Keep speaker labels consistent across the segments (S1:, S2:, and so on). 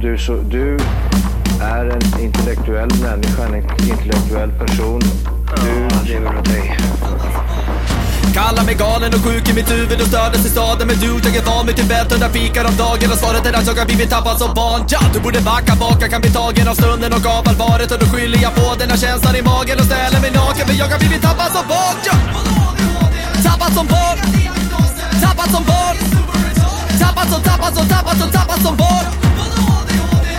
S1: du, så, du är en intellektuell människa, en intellektuell person. Du lever av dig.
S2: Kallar mig galen och sjuk i mitt huvud och stördes i staden Men du, jag är van vid Tibet och där fikar om dagen Och svaret är att jag har blivit tappad som barn ja, Du borde backa bak, jag kan bli tagen av stunden och av allvaret Och då skyller jag på den här känslan i magen och ställer mig naken För jag har blivit tappad som barn ja. Tappad som barn Tappad som barn Tappad som, tappad som, tappad som, tappad som barn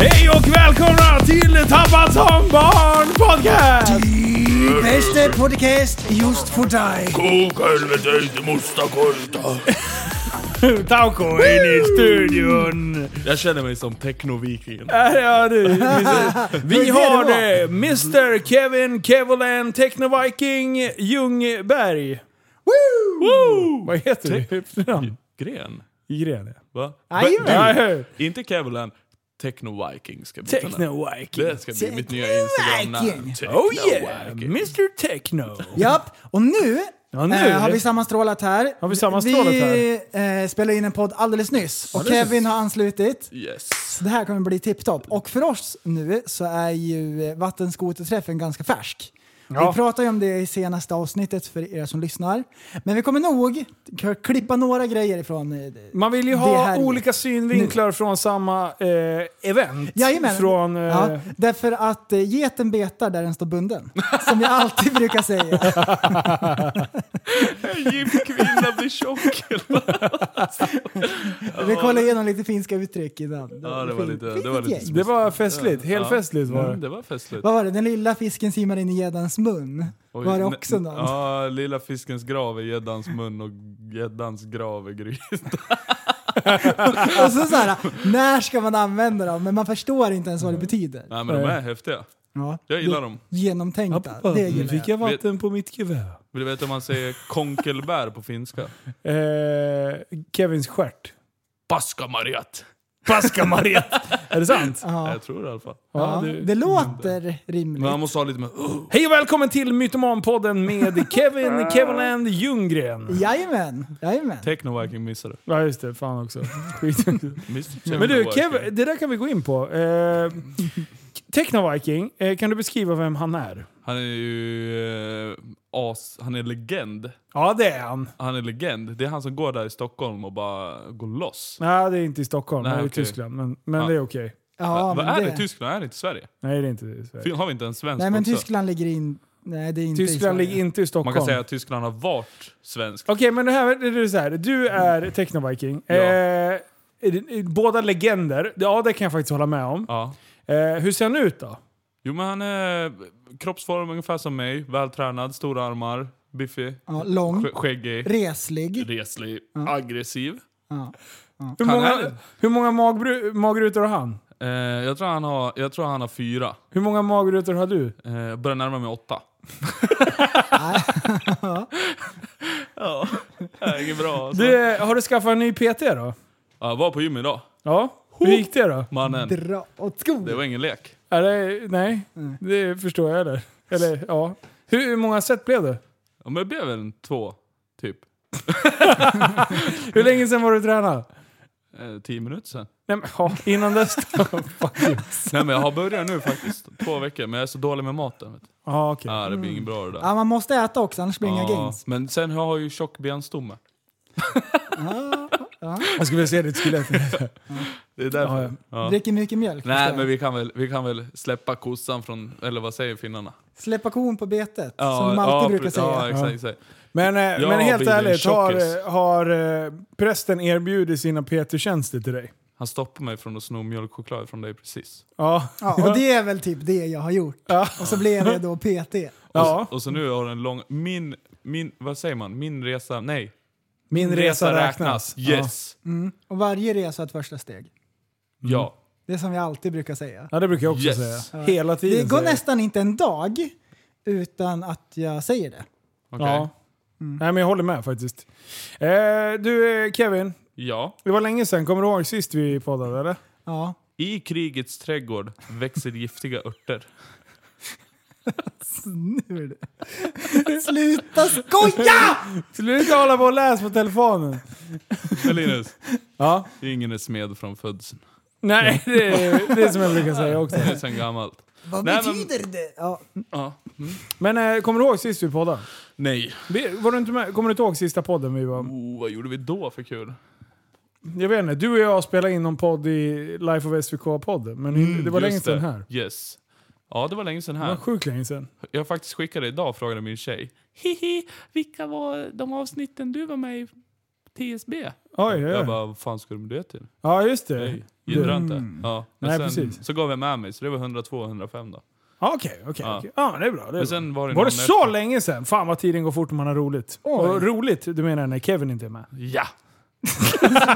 S3: Hej och välkomna till Tappad som barn podcast!
S4: Bästa podcast just för dig.
S3: Tauko in i studion!
S5: Jag känner mig som technovikingen.
S3: Här är du! Vi har det, Mr Kevin Kevolan Technoviking Ljungberg. Woo! Vad heter du i efternamn?
S5: Gren?
S3: Gren, ja.
S5: Va?
S3: Ja,
S5: Va?
S3: hej.
S5: Du, inte Kevlan. Techno-viking ska bli
S3: Technoviking.
S5: Det ska bli mitt nya Instagram-namn.
S3: Oh yeah!
S5: Techno-viking.
S3: Mr Techno.
S4: Japp, och nu,
S3: Ja, nu.
S4: eh, har vi sammanstrålat här.
S3: Har vi sammanstrålat
S4: vi, här? Eh, spelade in en podd alldeles nyss och
S3: Alldeles
S4: Kevin har anslutit.
S5: Yes.
S4: Så det här kommer bli tipptopp. Och för oss nu så är ju eh, vattenskoterträffen ganska färsk.
S3: Ja.
S4: Vi pratade ju om det i senaste avsnittet för er som lyssnar. Men vi kommer nog k- klippa några grejer ifrån... eh,
S3: Man vill ju
S4: Det
S3: ha
S4: här-
S3: olika synvinklar från samma eh, event.
S4: Jajamän.
S3: Från... Eh,
S4: Ja, därför att eh, geten betar där den står bunden. Som jag alltid brukar säga.
S5: En gift kvinna blir tjock.
S4: Vi kollade igenom lite finska uttryck innan.
S5: Ja, det var
S4: Fint-
S5: lite- det
S4: fint
S5: var lite
S4: gäng.
S5: sm-
S3: Det var festligt. Helfestligt var
S5: Mm,
S3: det.
S5: det var festligt.
S4: Vad var det? Den lilla fisken simmar in i gäddans mun.
S5: Oj,
S4: var det
S5: ne-
S4: också någon?
S5: Ja, lilla fiskens grav är gäddans mun och gäddans grav är grytan.
S4: Och så så här, när ska man använda dem? Men man förstår inte ens vad det betyder.
S5: Nej men de är häftiga.
S4: Ja,
S5: Mm. Jag gillar dem.
S4: Genomtänkta.
S3: Pappa,
S4: det
S3: nu
S4: gillar
S3: fick
S4: jag.
S3: jag vatten på mitt gevär.
S5: Vill du veta om man säger konkelbär på finska?
S3: Eh, Kevins stjärt.
S5: Paska Mariat!
S3: Paska Maria! är det sant?
S5: Jag tror det i alla fall.
S4: Ja,
S3: det-
S4: det, låter rimligt.
S5: Men man måste ha lite med... Oh,
S3: Hej och välkommen till Mytomanpodden med Kevin Kevinland Ljunggren.
S4: Jajamän, jajamän.
S5: Techno-viking missade.
S3: Ja just det, fan också. Skit.
S5: Missade
S3: Men du,
S5: Techno-viking.
S3: Kev, det där kan vi gå in på. Eh, Technoviking, eh, kan du beskriva vem han är?
S5: Han är ju eh, as... Han är legend.
S3: Ja det är han.
S5: Han är legend. Det är han som går där i Stockholm och bara går loss.
S3: Nej det är inte i Stockholm,
S5: Nej,
S3: det är i
S5: okej.
S3: Tyskland. Men, men
S5: Ja.
S3: det är okej.
S4: Ja,
S5: Vad
S4: men
S5: är det? i Tyskland? Är det inte Sverige?
S3: Nej det är inte i Sverige.
S5: Fin- Har vi inte en svensk
S4: Nej men
S5: också?
S4: Tyskland ligger in... Nej det är inte i
S3: Tyskland
S4: Sverige.
S3: ligger inte i Stockholm.
S5: Man kan säga att Tyskland har varit svensk.
S4: Alltså-
S3: Okej, men det här det är så här. Du är Technoviking.
S5: Ja.
S3: Eh, är det- är båda legender. Ja, det kan jag faktiskt hålla med om.
S5: Ja.
S3: Eh, hur ser han ut då?
S5: Jo men han är kroppsform ungefär som mig. Vältränad, stora armar, biffig,
S4: Ja, lång,
S5: sk- skäggig,
S4: reslig.
S5: reslig, aggressiv.
S3: Hur
S5: Han
S3: många,
S5: är-
S3: hur många magbru, magrutor har han?
S5: Eh, jag, tror han har, jag tror han har fyra.
S3: Hur många magrutor har du?
S5: Eh, jag börjar närma mig åtta. ja, det är inget bra alltså.
S3: du eh, har du skaffat en ny PT då?
S5: Ja, Jag var på gym idag,
S3: Ja. Hur gick det då?
S5: mannen.
S4: Dra åt skogen.
S5: Det var ingen lek.
S3: Är det, nej, det förstår jag. Eller, eller ja. Hur, hur många set blev det?
S5: Ja, men det blev väl en två, typ.
S3: Hur länge sedan var du tränad?
S5: Eh, tio minuter sen.
S3: Nej, men, ja, innan dess då? Fuck you.
S5: Nej men jag har börjat nu faktiskt. Två veckor. Men jag är så dålig med maten. Vet du.
S3: Ja, okej.
S5: Ah, det blir inget bra det där.
S4: Ja, man måste äta också, annars blir det inga
S5: Ja,
S4: gains.
S5: men sen har jag ju tjock benstomme.
S3: Jag skulle vilja se ditt skelett.
S5: Det är därför.
S3: Ja, ja.
S4: Dricker mycket mjölk. förstår
S5: Nej,
S4: jag.
S5: men vi kan, väl, vi kan väl släppa kossan från, eller vad säger finnarna?
S4: Släppa kon på betet,
S5: Ja,
S4: som Malte
S5: ja,
S4: brukar
S5: pre-
S4: säga.
S5: Ja, exakt, exakt.
S3: Men, eh, men helt
S5: blir en
S3: ärligt, har,
S5: tjockis.
S3: har eh, prästen erbjudit sina PT-tjänster till dig?
S5: Han stoppade mig från att sno mjölkchoklad från dig precis.
S3: Ja.
S4: Ja, och det är väl typ det jag har gjort. Och så blev jag då PT.
S3: ja.
S5: Och så nu har en lång... Min, min, vad säger man? Min resa? Nej.
S3: Min resa räknas.
S5: Yes. Ja.
S4: Och varje resa är ett första steg.
S3: Mm.
S4: Det är som vi alltid brukar säga.
S3: Ja, det brukar jag också
S5: Yes.
S3: säga. Hela tiden
S4: Det går
S3: säger jag.
S4: nästan inte en dag utan att jag säger det.
S5: Okej.
S3: Ja. Nej, men jag håller med faktiskt. Eh, du eh, Kevin,
S5: ja.
S3: det var länge sedan. Kommer du ihåg sist vi poddade eller?
S4: Ja.
S5: I krigets trädgård växer giftiga örter.
S4: Nu är det. Sluta skoja!
S3: Sluta hålla på och läs på telefonen.
S5: Men Linus,
S3: Ja.
S5: ingen är smed från födseln.
S3: Nej, det är, det är som jag brukar säga också.
S5: Det är sen gammalt.
S4: Vad
S5: Nej, men-
S4: betyder det? Ja.
S5: Ja.
S3: Men eh, kommer du ihåg sist vi poddade?
S5: Nej.
S3: Vi, var du inte med? Kommer du inte ihåg sista podden vi var
S5: Oh, vad gjorde vi då för kul?
S3: Jag vet inte, du och jag spelade in någon podd i Life of SVK-podden, men Mm, det var
S5: Mm, Just
S3: länge sedan
S5: det.
S3: här.
S5: Yes. Ja, det var länge sedan
S3: Det var
S5: här.
S3: sjukt länge sedan.
S5: Jag faktiskt skickade idag och frågade min tjej. Hihi, vilka var de avsnitten du var med i TSB?
S3: Oj, oj,
S5: Jag
S3: oj.
S5: bara, vad fan ska du med det till?
S3: Ja, just det.
S5: Nej, gillar jag inte. Ja. Men
S3: Mm. Nej,
S5: sen,
S3: precis.
S5: Så gav jag med mig, så det var 102 105 då.
S3: Ja, Okej, okej.
S5: Ja.
S3: okej. Ja, men det är bra. Det är
S5: Men
S3: bra.
S5: sen var det
S3: Var
S5: någon
S3: det så
S5: efter-
S3: länge sedan? Fan vad tiden går fort när man har roligt. Och roligt, du menar när Kevin inte är med?
S5: Ja!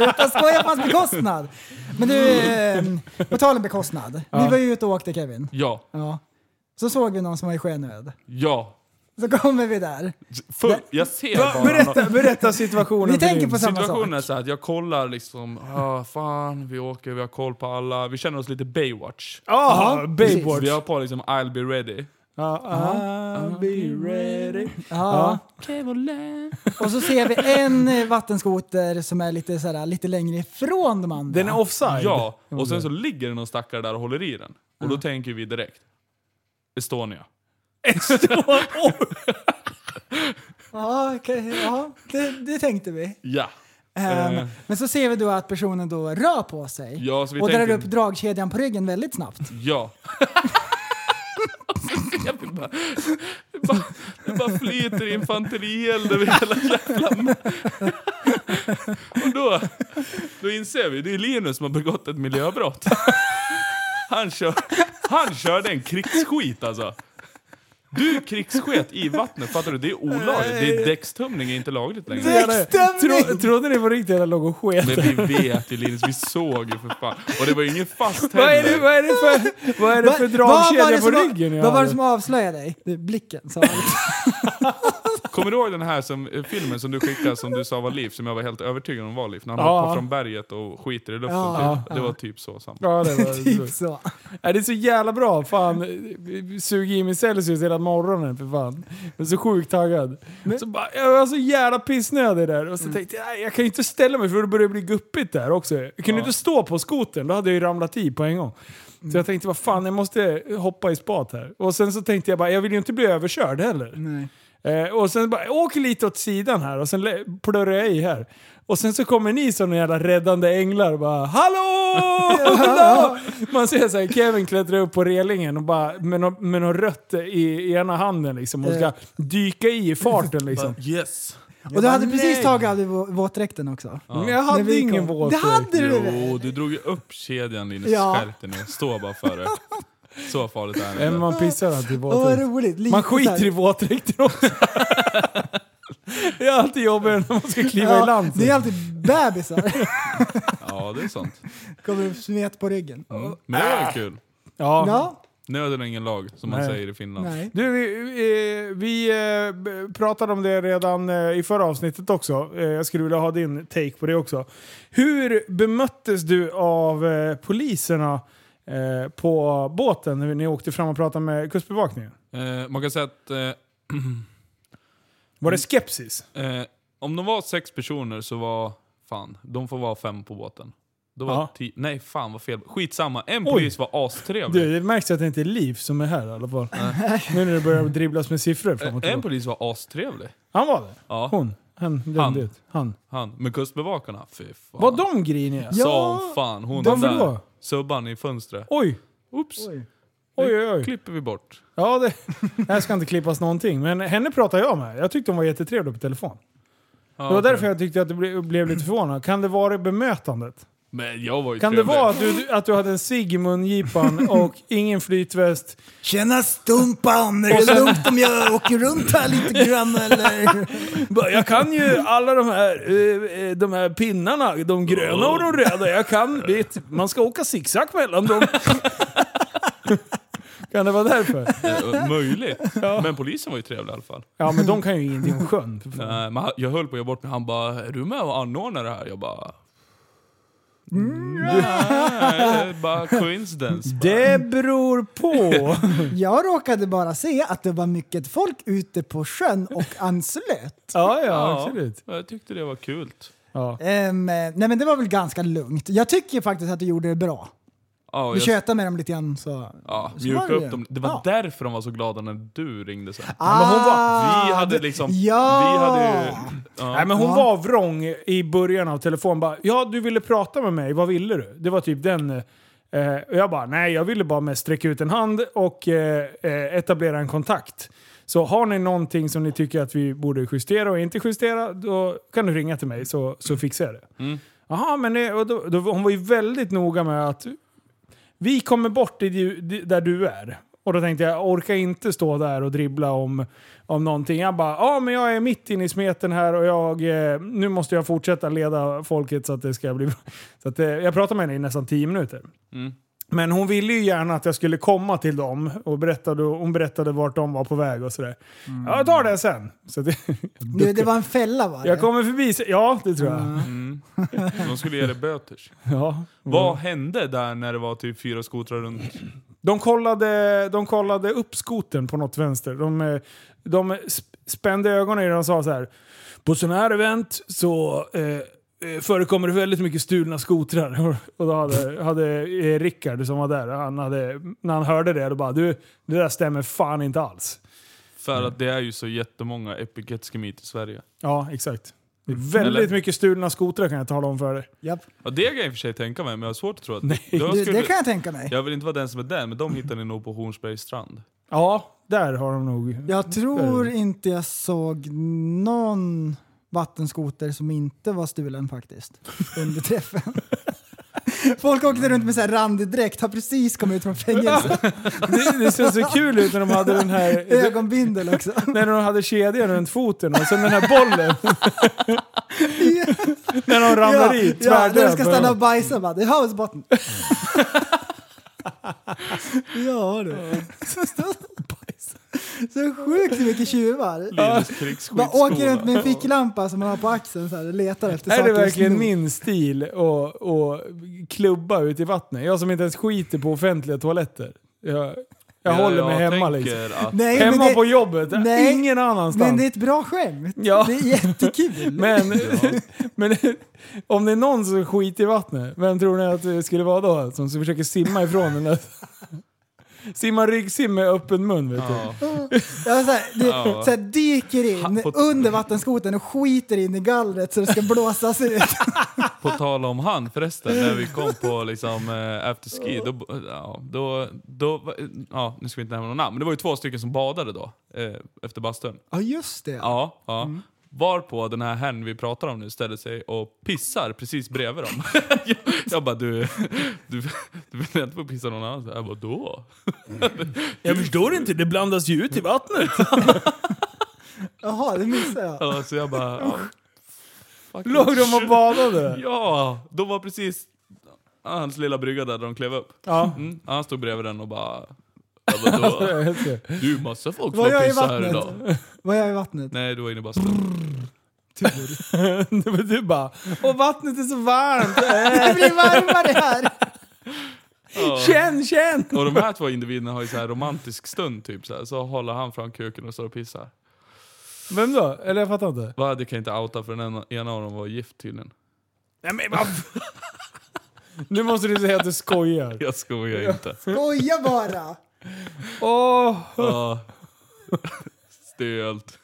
S4: Jag skojar på hans bekostnad. Men du, eh, på tal om bekostnad. Vi var ju ute och åkte Kevin.
S5: Ja!
S4: Ja. Så såg vi någon som var i sjönöd.
S5: Ja!
S4: Så kommer vi där.
S5: Full, jag ser bara...
S3: Berätta, berätta situationen
S4: Vi
S3: för
S4: tänker
S3: din-
S4: på samma
S5: Situationen
S4: sak.
S5: är så här att jag kollar liksom, ah, fan, vi åker, vi har koll på alla. Vi känner oss lite Baywatch.
S3: Ah,
S4: Ja,
S3: Baywatch.
S5: Vi har på liksom I'll be ready.
S3: Ja, I'll be ready.
S4: Ja. Och så ser vi en eh, vattenskoter som är lite, så här, lite längre ifrån de andra.
S3: Den är offside.
S5: Ja, och sen så ligger det någon stackare där och håller i den. Och då tänker vi direkt, Estonia.
S4: Ja, okej, ja det, det tänkte vi.
S5: Ja.
S4: Ehm,
S5: Eh.
S4: Men så ser vi då att personen då rör på sig
S5: Ja, så vi
S4: och drar
S5: tänker-
S4: upp dragkedjan på ryggen väldigt snabbt.
S5: Ja. jag vill bara, det, bara, det bara flyter infanterield över hela jävla... Och då, då inser vi, det är Linus som har begått ett miljöbrott. Han, kör, han körde en krigsskit alltså. Du krigssket i vattnet, fattar du? Det är olagligt. Det är däckstömning är inte lagligt längre.
S4: Däckstämning!
S3: Tro, trodde ni på riktigt eller låg och sket?
S5: Men vi vet ju Linus, vi såg ju för fan. Och det var ju ingen fast
S3: Vad är det,
S5: heller.
S3: vad är det för, vad är det
S4: Va-
S3: för
S4: vad var
S3: dragkedja
S4: det
S3: på
S4: som var-
S3: ryggen? jag
S4: Vad var det
S3: hade?
S4: som avslöjade dig? Det är blicken sa allt.
S5: Kommer du ihåg den här som, eh, filmen som du skickade som du sa var Liv, som jag var helt övertygad om var Liv? När han
S3: Ja.
S5: hoppar från berget och skiter i luften.
S4: Ja,
S5: typ. Det var typ så. Sam.
S3: Ja, det var
S4: typ så.
S3: Nej, det är så jävla bra. Fan, sug i mig Celsius hela morgonen för fan. Jag är så sjukt taggad. Så bara, jag var så jävla pissnödig där. Och så
S4: Mm.
S3: tänkte jag, "Nej, jag kan ju inte ställa mig för då börjar det bli guppigt där också. Jag kunde inte stå på skoten, då hade jag ju ramlat i på en gång.
S4: Mm.
S3: Så jag tänkte, vad fan, jag måste hoppa i spat här. Och sen så tänkte jag bara, jag vill ju inte bli överkörd heller. Eh, och sen bara, jag åker lite åt sidan här och sen lä- plurrar jag i här. Och sen så kommer ni som några jävla räddande änglar och bara Hallå! Hallå! Man ser så här, Kevin klättrar upp på relingen och bara, med något med nå rött i, i ena handen liksom och ska
S4: Eh.
S3: dyka i i farten liksom.
S5: Yes!
S4: Och du hade precis
S3: nej.
S4: tagit av dig vå- våtdräkten också.
S3: Men jag hade
S4: När vi
S3: ingen
S4: kom.
S3: våt.
S4: Det hade du
S5: Jo,
S4: väl?
S5: du drog ju upp kedjan Linus.
S4: Ja.
S5: Skärp dig nu. Stå bara för det. Så farligt är det
S3: Men
S5: inte.
S3: man pissar alltid i
S4: Åh vad
S3: våtdräkt.
S4: roligt. Lite
S3: Man
S4: så
S3: skiter
S4: här-
S3: i våtdräkten också. Det är alltid jobbigare när man ska kliva i land.
S4: Det är alltid bebisar.
S5: Ja, det är sant.
S4: Kommer upp smet på ryggen.
S5: Mm. Men det var ju kul.
S4: Ja,
S5: Nöden är ingen lag, som man
S3: Nej.
S5: säger i Finland.
S4: nej.
S3: Du, vi, eh, vi eh, b- pratade om det redan eh, i förra avsnittet också. Eh, Jag skulle vilja ha din take på det också. Hur bemöttes du av eh, poliserna eh, på båten när ni åkte fram och pratade med Kustbevakningen?
S5: Eh, man kan säga att eh,
S3: Var det skepsis?
S5: Eh, om de var sex personer så var... Fan, de får vara fem på båten. Då var
S3: Ja.
S5: ti- nej, fan vad fel. Skitsamma. En
S3: Oj.
S5: polis var astrevlig.
S3: Du, det märks att det inte är Liv som är här i alla fall. Nu när det börjar dribblas med siffror fram och
S5: Eh, en
S3: tillbaka.
S5: polis var astrevlig.
S3: Han var det?
S5: Ja.
S3: Eh, Hon? Han Lundit. Han.
S5: Han med kustbevakarna. Fy fan.
S3: Var de griniga?
S5: Som fan. Hon
S3: varför
S5: där.
S3: då?
S5: Subban i fönstret.
S3: Oj!
S5: Oops.
S3: Oj. Oj, oj, oj.
S5: klipper vi bort.
S3: Ja, det, det här ska inte klippas någonting. Men henne pratade jag med. Jag tyckte hon var jättetrevlig på telefon.
S5: Ja,
S3: Det var
S5: okej.
S3: därför jag tyckte att det blev, blev lite förvånad. Kan det vara bemötandet?
S5: Men jag var ju
S3: Kan det
S5: trevlig.
S3: vara att du, att du hade en cigg i mungipan och ingen flytväst?
S4: Tjena Stumpan! Är det lugnt om jag åker runt här lite grann eller?
S3: Bara, Jag kan ju alla de här, eh, eh, de här pinnarna, de gröna och de röda. Jag kan, vet, man ska åka zigzag mellan dem. Kan det vara därför?
S5: Eh, Möjligt. Men polisen var ju trevlig i alla fall.
S3: Ja, men de kan ju ingenting om sjön. för fan.
S5: Eh, Men han- jag höll på att göra bort mig. Han bara, är du med och anordnar det här? Jag bara...
S3: Mm.
S5: Nej, bara coincidence.
S3: Det beror på.
S4: Jag råkade bara se att det var mycket folk ute på sjön och anslöt.
S3: Ja, ja,
S5: Ja.
S3: absolut.
S5: Jag tyckte det var kul.
S3: Ja.
S4: Ehm, eh, nej men det var väl ganska lugnt. Jag tycker faktiskt att du gjorde det bra.
S5: Ja,
S4: Vi
S5: jag-
S4: tjötade med dem lite grann så...
S5: Ja,
S4: Så var
S5: mjuka
S4: det ju.
S5: upp dem. Det var
S4: Ja.
S5: därför de var så glada när du ringde sen.
S4: men hon var-
S5: vi hade liksom...
S4: Ah, Ja.
S5: Vi hade ju...
S3: Nej,
S5: Ja.
S3: men hon
S4: Ja.
S3: var vrång i början av telefonen. Bara, ja, du ville prata med mig. Vad ville du? Det var typ den... Eh, och jag bara, nej, jag ville bara mest sträcka ut en hand och eh, eh, etablera en kontakt. Så har ni någonting som ni tycker att vi borde justera och inte justera, då kan du ringa till mig så, så fixar jag det. Jaha, men det, och då, då, hon var ju väldigt noga med att vi kommer bort i di- di- där du är. Och då tänkte jag, jag orkar inte stå där och dribbla om, om någonting. Jag bara, ja men jag är mitt inne i smeten här och jag, eh, nu måste jag fortsätta leda folket så att det ska bli bra. Så att, eh, jag pratade med henne i nästan tio minuter. Men hon ville ju gärna att jag skulle komma till dem och berättade, hon berättade vart de var på väg och sådär. Ja, jag tar det sen. Så det,
S4: Det, det var en fälla var det?
S3: jag kommer förbi, se- ja det tror jag.
S5: De skulle ge dig böters.
S4: Mm.
S3: Ja.
S5: Vad hände där när det var typ fyra skotrar runt?
S3: De kollade, de kollade upp skoten på något vänster. De, eh, de sp- spände ögonen i den och sa så här. På sådana här event så eh, eh, förekommer det väldigt mycket stulna skotrar. Och- Och då hade, hade eh, Rickard som var där, han hade, när han hörde det, då bara du, det där stämmer fan inte alls.
S5: För att det är ju så jättemånga Epic Jet Ski Meet i Sverige.
S3: Ja, exakt. Det är väldigt
S5: Eller-
S3: mycket stulna skotrar kan jag tala om för dig.
S4: Japp.
S5: Ja, det kan jag i och för sig tänka mig, men jag har svårt att tro att...
S3: Nej.
S5: Jag,
S4: Du,
S5: skulle,
S4: det kan jag tänka mig.
S5: jag vill inte vara den som är där, men de hittade ni nog på Hornsbergs strand.
S3: Ja, där har de nog...
S4: Jag tror inte jag såg någon vattenskoter som inte var stulen faktiskt. Under träffen. Folk åkte runt med så här randig dräkt, har precis kommit ut från fängelset.
S3: Det, det ser så kul ut när de hade den här...
S4: Ögonbindel också.
S3: När de hade kedjan runt foten och sen den här bollen. när de ramlar i,
S4: ja, när du ska
S3: tvärdöd.
S4: stanna och bajsa bara, det har hos botten. ja du. Så stå- Så sjukt mycket tjuvar.
S5: Linus Krigs
S4: Bara åker runt med
S5: skitskola.
S4: en ficklampa som man har på axeln så här, och letar efter
S3: Är
S4: saker
S3: det
S4: att
S3: verkligen
S4: sno.
S3: min stil att, att klubba ut i vattnet? Jag som inte ens skiter på offentliga toaletter. Jag, jag håller mig hemma
S5: tänker
S3: liksom.
S5: Att,
S4: Nej, men
S3: Hemma
S4: det-
S3: på jobbet,
S4: Nej,
S3: ingen annanstans.
S4: Men det är ett bra skämt.
S3: Ja.
S4: Det är jättekul.
S3: Men, men om det är någon som skiter i vattnet, vem tror ni att det skulle vara då? Som försöker simma ifrån den där... Simma ryggsim med öppen mun vet du.
S5: ja.
S4: Jag så här, det,
S5: Ja.
S4: så här, dyker
S5: Ha,
S4: in
S5: på-
S4: under vattenskoten och skiter in i gallret så det ska blåsas ut.
S5: På tal om han förresten, när vi kom på liksom, eh, after ski, då, ja, då, då, ja, nu ska vi inte nämna några namn, men det var ju två stycken som badade då, eh, efter bastun.
S4: Ja just det.
S5: Ja, ja. Varpå den här herrn vi pratar om nu ställer sig och pissar precis bredvid dem. jag, jag bara, du, du, du vill inte få pissa någon annanstans? Jag bara, då?
S3: Jag förstår inte, det blandas ju ut i vattnet.
S4: Jaha, det missade jag.
S5: Ja, så jag bara, ja. Fucking
S3: Låg de och
S5: shit.
S3: badade?
S5: Ja, de var precis hans lilla brygga där de klev upp.
S3: Ja.
S5: Mm, han stod bredvid den och bara... "Ja, vadå? Du, massa folk som
S4: Var jag
S5: har
S4: i
S5: pissat här
S4: vattnet?
S5: idag.
S4: Var jag i vattnet?
S5: Nej, du var inne i bastun.
S3: Men du bara, och vattnet är så varmt.
S4: Det blir varmare här!
S3: Känn, känn!
S5: Och de här två individerna har ju så här romantisk stund typ så här. Så håller han fram kuken och står och pissar.
S3: Vem då? Eller jag fattar inte.
S5: Va, det kan jag inte outa för den ena av dem var gift tydligen.
S3: Nej men vad... Nu måste du säga att du skojar.
S5: Jag skojar inte.
S4: Skoja bara!
S3: Åh!
S5: Ja. Stelt.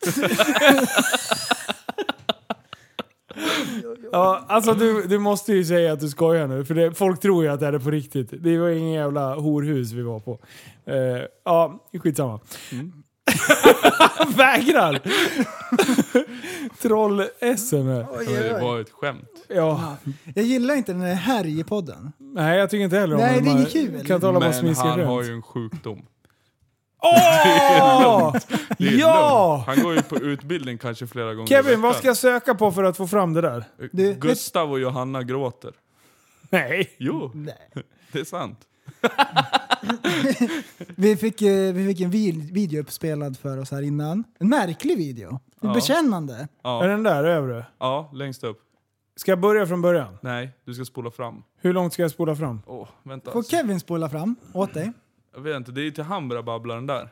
S3: Ja, alltså du, du måste ju säga att du skojar nu, för det, folk tror ju att det här är på riktigt. Det var ingen jävla horhus vi var på. Eh, ja, skitsamma. Mm. Vägrar! Troll-SM här.
S5: Det var ett skämt.
S3: Ja,
S4: Jag gillar inte den här härjepodden.
S3: nej jag tycker inte heller om
S4: Nej,
S3: när
S4: det är
S3: man
S4: inget kul.
S3: Kan inte hålla på och
S5: Men
S3: smiska
S5: han
S3: runt.
S5: har ju en sjukdom.
S3: Åh!
S5: Det är
S3: Ja!
S5: lugnt. Han går ju på utbildning kanske flera gånger i
S3: Kevin, vad
S5: veckan.
S3: ska jag söka på för att få fram det där?
S4: Du-
S5: Gustav och Johanna gråter.
S3: Nej.
S5: Jo, det är sant.
S4: Vi fick, eh, vi fick en vid- video uppspelad för oss här innan. En märklig video. Bekännande.
S3: Är den där övre?
S5: Ja, längst upp.
S3: Ska jag börja från början?
S5: Nej, du ska spola fram.
S3: Hur långt ska jag spola fram?
S5: Åh, vänta.
S4: Får
S5: alltså.
S4: Kevin spola fram åt dig?
S5: Jag vet inte, det är ju till Hambra babblar den där.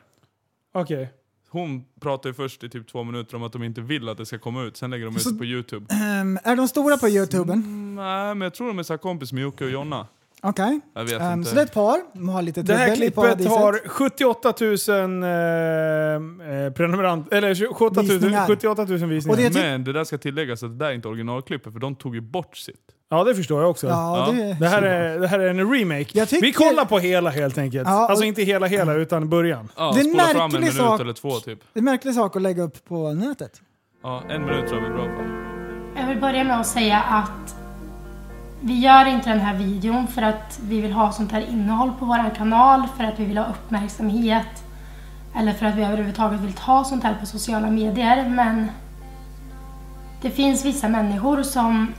S3: Okej.
S5: Hon pratar ju först i typ två minuter om att de inte vill att det ska komma ut, sen lägger de ut det på youtube.
S4: Ehm, är de stora på
S5: Mm.
S4: youtuben?
S5: Nej, men jag tror de är så här kompis med Jocke och Jonna.
S4: Okej.
S5: Jag vet
S4: Ehm,
S5: inte.
S4: så det är ett par. De har lite
S3: Det här
S4: trubbel i
S3: klippet
S4: paradiset.
S3: har 78 000 eh, eh, prenumerant... Eller 78 000
S4: Visningar.
S3: visningar. 78 000 visningar.
S4: Och det- typ- jag tyck-
S5: Men det där ska tilläggas att det där är inte originalklippet, för de tog ju bort sitt.
S3: Ja, det förstår jag också.
S4: Ja,
S5: Ja.
S4: det,
S3: Det här, är, det här är en remake.
S4: Jag tycker-
S3: Vi kollar på hela helt enkelt.
S4: Ja, och-
S3: alltså inte hela hela, utan början.
S5: Ja,
S4: Det är en
S5: spola fram en
S4: märklig
S5: minut
S4: sak.
S5: eller två typ.
S4: det är en märklig sak att lägga upp på nätet.
S5: Ja, en minut tror jag blir bra på.
S6: Jag vill börja med att säga att vi gör inte den här videon för att vi vill ha sånt här innehåll på vår kanal, för att vi vill ha uppmärksamhet eller för att vi överhuvudtaget vill ta sånt här på sociala medier. Men det finns vissa människor som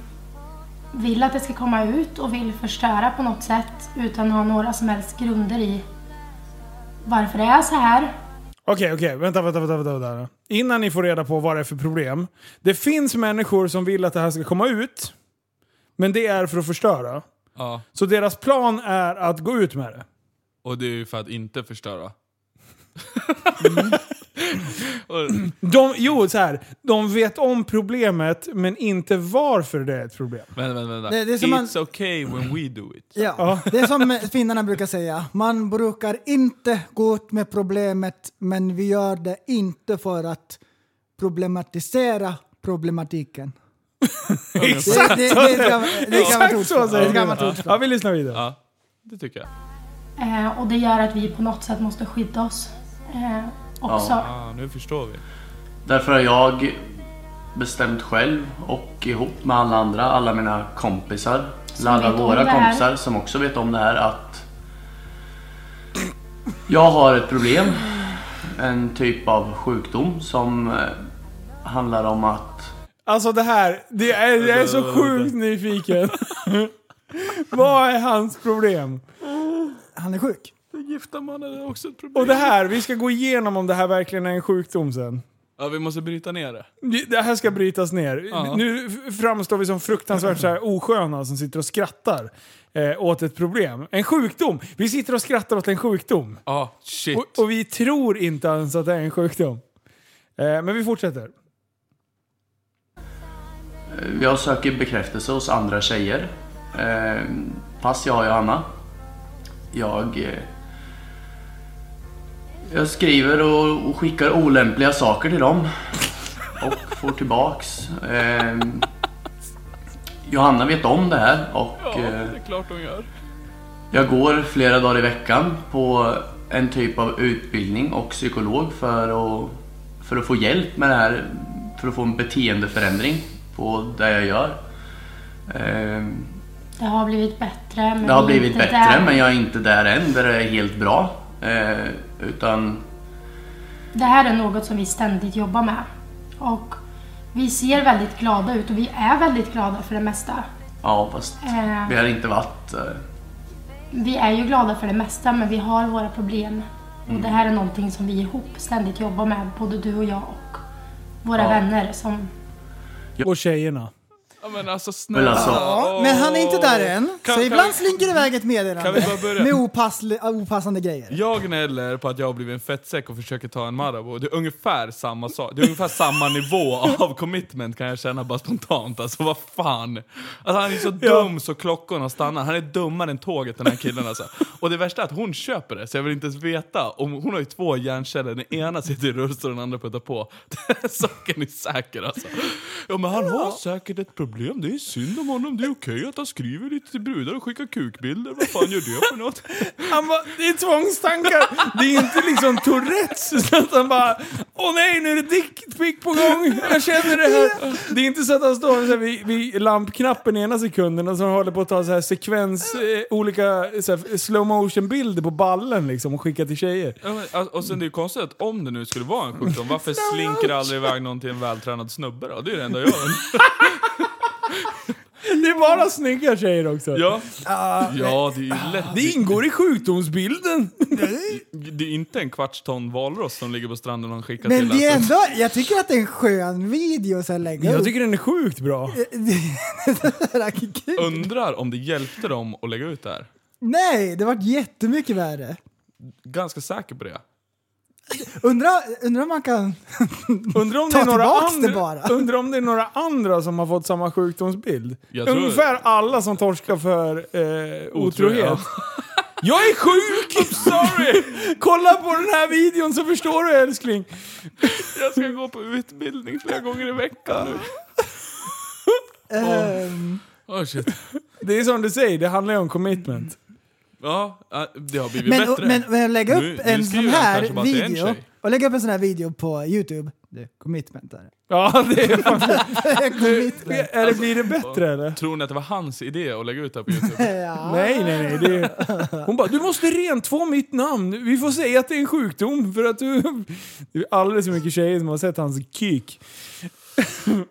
S6: vill att det ska komma ut och vill förstöra på något sätt utan att ha några som helst grunder i varför det är så här.
S3: Okej, okej. Vänta, vänta, vänta, vänta, vänta. Innan ni får reda på vad det är för problem. Det finns människor som vill att det här ska komma ut. Men det är för att förstöra.
S5: Ja,
S3: Så deras plan är att gå ut med det.
S5: och det är ju för att inte förstöra. och,
S3: De, jo, så här. De vet om problemet, men inte varför det är ett problem.
S5: vänta, vänta, vänta.
S4: Det- det är som man-
S5: It's okay when we do it.
S4: Ja. Det är som finnarna brukar säga. Man brukar inte gå ut med problemet men vi gör det inte för att problematisera problematiken. Exakt det, det, det, är ett gammalt- det är ett
S3: Exakt
S4: gammalt
S3: så
S4: ordspråk. Det är
S3: säger
S4: ett gammalt
S3: vi.
S4: ordspråk.
S3: Ja, vi lyssnar vidare.
S5: Ja, det tycker jag.
S6: Eh, och det gör att vi på något sätt måste skydda oss eh, också.
S5: Ja, nu förstår vi.
S7: Därför har jag bestämt själv och ihop med alla andra, alla mina kompisar, eller alla
S6: vet om det
S7: våra
S6: här.
S7: kompisar som också vet om det här att jag har ett problem, en typ av sjukdom som eh, handlar om att
S3: Alltså det här, det är, jag är så sjukt nyfiken. Vad är hans problem?
S4: Han är sjuk.
S5: Gifta man är också ett problem.
S3: Och det här, vi ska gå igenom om det här verkligen är en sjukdom sen.
S5: Ja, vi måste bryta ner det.
S3: Det här ska brytas ner.
S5: Ja.
S3: Nu f- framstår vi som fruktansvärt så här osköna som sitter och skrattar eh, åt ett problem. En sjukdom! Vi sitter och skrattar åt en sjukdom.
S5: Ja, shit.
S3: Och, och vi tror inte ens att det är en sjukdom. Eh, men vi fortsätter.
S7: Jag söker bekräftelse hos andra tjejer. Eh, pass jag har Johanna. Jag... Eh, jag skriver och, och skickar olämpliga saker till dem. Och får tillbaks. Eh, Johanna vet om det här och
S5: ja,
S7: eh,
S5: det är klart hon gör.
S7: jag går flera dagar i veckan på en typ av utbildning och psykolog för att, för att få hjälp med det här, för att få en beteendeförändring på det jag gör. Ehm,
S6: Det har blivit bättre. Men
S7: det har
S6: vi är
S7: blivit
S6: inte
S7: bättre
S6: Mm, där.
S7: men jag är inte där än där det är helt bra. Eh, utan
S6: Det här är något som vi ständigt jobbar med. Och vi ser väldigt glada ut och vi är väldigt glada för det mesta.
S7: ja, fast
S6: Eh,
S7: vi har inte varit... Eh,
S6: vi är ju glada för det mesta men vi har våra problem.
S7: Mm.
S6: Och det här är någonting som vi ihop ständigt jobbar med, både du och jag och våra
S7: Ja.
S6: vänner som
S3: Och tjejerna.
S5: Ja, men alltså snälla.
S7: alltså-
S4: Ja, men han är inte där än.
S5: Kan-
S4: så
S5: kan
S4: ibland
S5: vi-
S4: slinker det iväg ett
S5: Kan vi
S4: meddelande
S5: bara börja?
S4: med opassli, äh, opassande grejer.
S5: Jag gnäller på att jag har blivit en fettsäck och försöker ta en Marabou. Det är ungefär samma sak. Det är ungefär samma nivå av commitment kan jag känna bara spontant. Alltså vad fan. Alltså, han är så dum så klockorna stannar. Han är dummare än tåget den här killen alltså. Och det värsta är att hon köper det så jag vill inte ens veta. Om, hon har ju två hjärnceller. Den ena sitter i rullstol och den andra puttar på. Den saken är säker alltså. Ja men han har säkert ett problem. problem. Det är synd om honom. Det är okej att han skriver lite till brudar och skickar kukbilder. Vad fan gör det för något?
S3: Han bara, det är tvångstankar. Det är inte liksom Tourettes. utan att han bara, åh nej nu är det dickpick på gång. Jag känner det här. Det är inte så att han står så här vid, vid lampknappen ena sekunden och så håller på att ta så här sekvens, eh, olika så här, slow motion bilder på ballen liksom och skicka till tjejer.
S5: Ja, men, alltså, Och sen det är ju konstigt att om det nu skulle vara en sjukdom, varför slinker det aldrig iväg någon till en vältränad snubbe då? Det är ju det enda jag undrar.
S3: Det är bara snygga tjejer också.
S5: Ja.
S4: Ah,
S5: ja, det är ju lätt.
S3: Det ingår i sjukdomsbilden.
S5: Det är inte en kvarts ton valross som ligger på stranden och han skickar
S4: Men
S5: till alltså.
S4: det är
S5: en.
S4: ändå, jag tycker att det är en skön video så här lägga
S3: Jag
S4: upp.
S3: tycker den är sjukt bra.
S4: Det här är kul.
S5: Undrar om det hjälpte dem att lägga ut det här.
S4: Nej, det vart jättemycket värre.
S5: Ganska säker på det.
S4: Undrar undra om man kan...
S3: Undrar om, det
S4: Ta
S3: är några
S4: tillbaks det
S3: andra,
S4: bara.
S3: undrar om det är några andra som har fått samma sjukdomsbild.
S5: Jag tror-
S3: Ungefär alla som torskar för eh, otrohet. Jag är sjuk! I'm sorry! Kolla på den här videon så förstår du älskling.
S5: Jag ska gå på utbildning flera gånger i veckan nu.
S4: ehm,
S5: Åh shit.
S3: Det är som du säger, det handlar ju om commitment.
S5: Ja, äh, det har blivit
S4: men,
S5: bättre.
S4: men, men lägga upp
S5: Nu- nu
S4: en
S5: skriver
S4: sån
S5: han
S4: här
S5: kanske bara att det är en
S4: video.
S5: tjej.
S4: Och lägga upp en sån här video på Youtube. Det är commitment där.
S3: Ja, det är fan...
S4: commitment.
S3: Eller blir det bättre eller?
S5: Tror ni att det var hans idé att lägga ut det här på Youtube?
S4: Ja.
S3: Nej, nej, nej. Det är... Hon bara, du måste rentvå mitt namn. Vi får säga att det är en sjukdom för att du... Det är alldeles för mycket tjejer som har sett hans kik.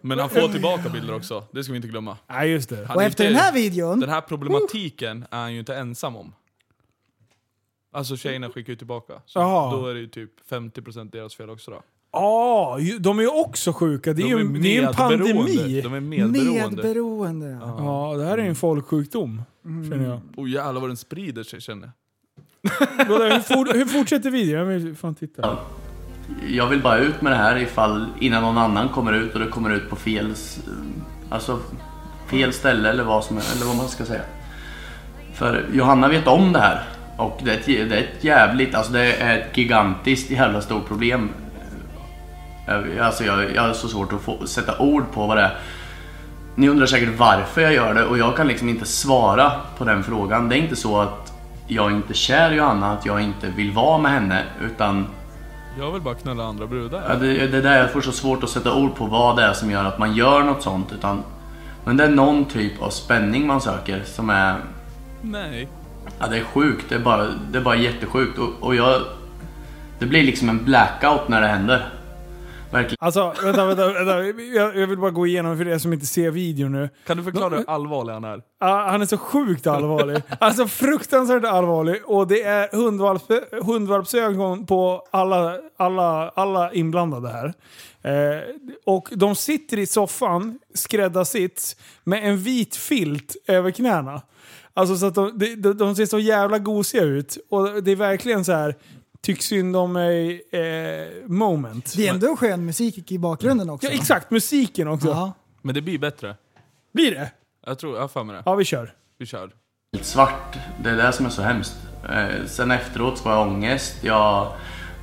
S5: Men han får tillbaka bilder också. Det ska vi inte glömma.
S3: Nej, just det.
S5: Han
S4: Och
S5: är
S4: efter
S5: inte-
S4: den här videon,
S5: Den här problematiken är han ju inte ensam om. Alltså tjejerna skickar ju tillbaka. Så
S3: Jaha.
S5: då är det ju typ 50% deras fel också då.
S3: Ja, ju- de är ju också sjuka. Det är ju en, det är en
S5: medberoende.
S3: pandemi.
S5: De är medberoende. Åh
S4: medberoende. Ja.
S3: Ja, det här är ju en folksjukdom. Känner jag.
S5: oh, jävlar vad den sprider sig känner jag.
S3: Vadå, hur, for, hur fortsätter videon? Jag vill fan titta.
S7: Jag vill bara ut med det här ifall innan någon annan kommer ut och det kommer ut på fel, s- alltså, fel ställe eller vad, som, eller vad man ska säga. För Johanna vet om det här och det är ett, jä- det är ett jävligt, alltså det är ett gigantiskt jävla stort problem. Jag- Alltså jag, jag har så svårt att få, sätta ord på vad det är. Ni undrar säkert varför jag gör det och jag kan liksom inte svara på den frågan. Det är inte så att jag inte är kär i Johanna, att jag inte vill vara med henne utan
S5: Jag vill bara knulla andra brudar.
S7: Ja, det, det är där jag får så svårt att sätta ord på vad det är som gör att man gör något sånt. Utan, men det är någon typ av spänning man söker som är...
S5: Nej.
S7: Ja, det är sjukt. Det är bara, det är bara jättesjukt. Och, och jag... Det blir liksom en blackout när det händer. Verkligen.
S3: Alltså, vänta, vänta. vänta. Jag, jag vill bara gå igenom för er som inte ser videon nu.
S5: Kan du förklara hur allvarlig han är?
S3: Ah, han är så sjukt allvarlig. Alltså fruktansvärt allvarlig. Och det är hundvalp, hundvalpsögon på alla, alla, alla inblandade här. Eh, och de sitter i soffan, skräddarsits, med en vit filt över knäna. Alltså så att de, de, de- de ser så jävla gosiga ut. Och det är verkligen så här... Tyck synd om mig eh, moment.
S4: Det är ändå skön musik i bakgrunden också.
S3: Ja, exakt, musiken också.
S4: Ja.
S5: Men det blir bättre.
S3: Blir det?
S5: Jag tror, jag har för mig det.
S3: Ja, vi kör.
S5: Vi kör.
S7: helt svart. Det är det som är så hemskt. Eh, sen efteråt så får jag ångest, jag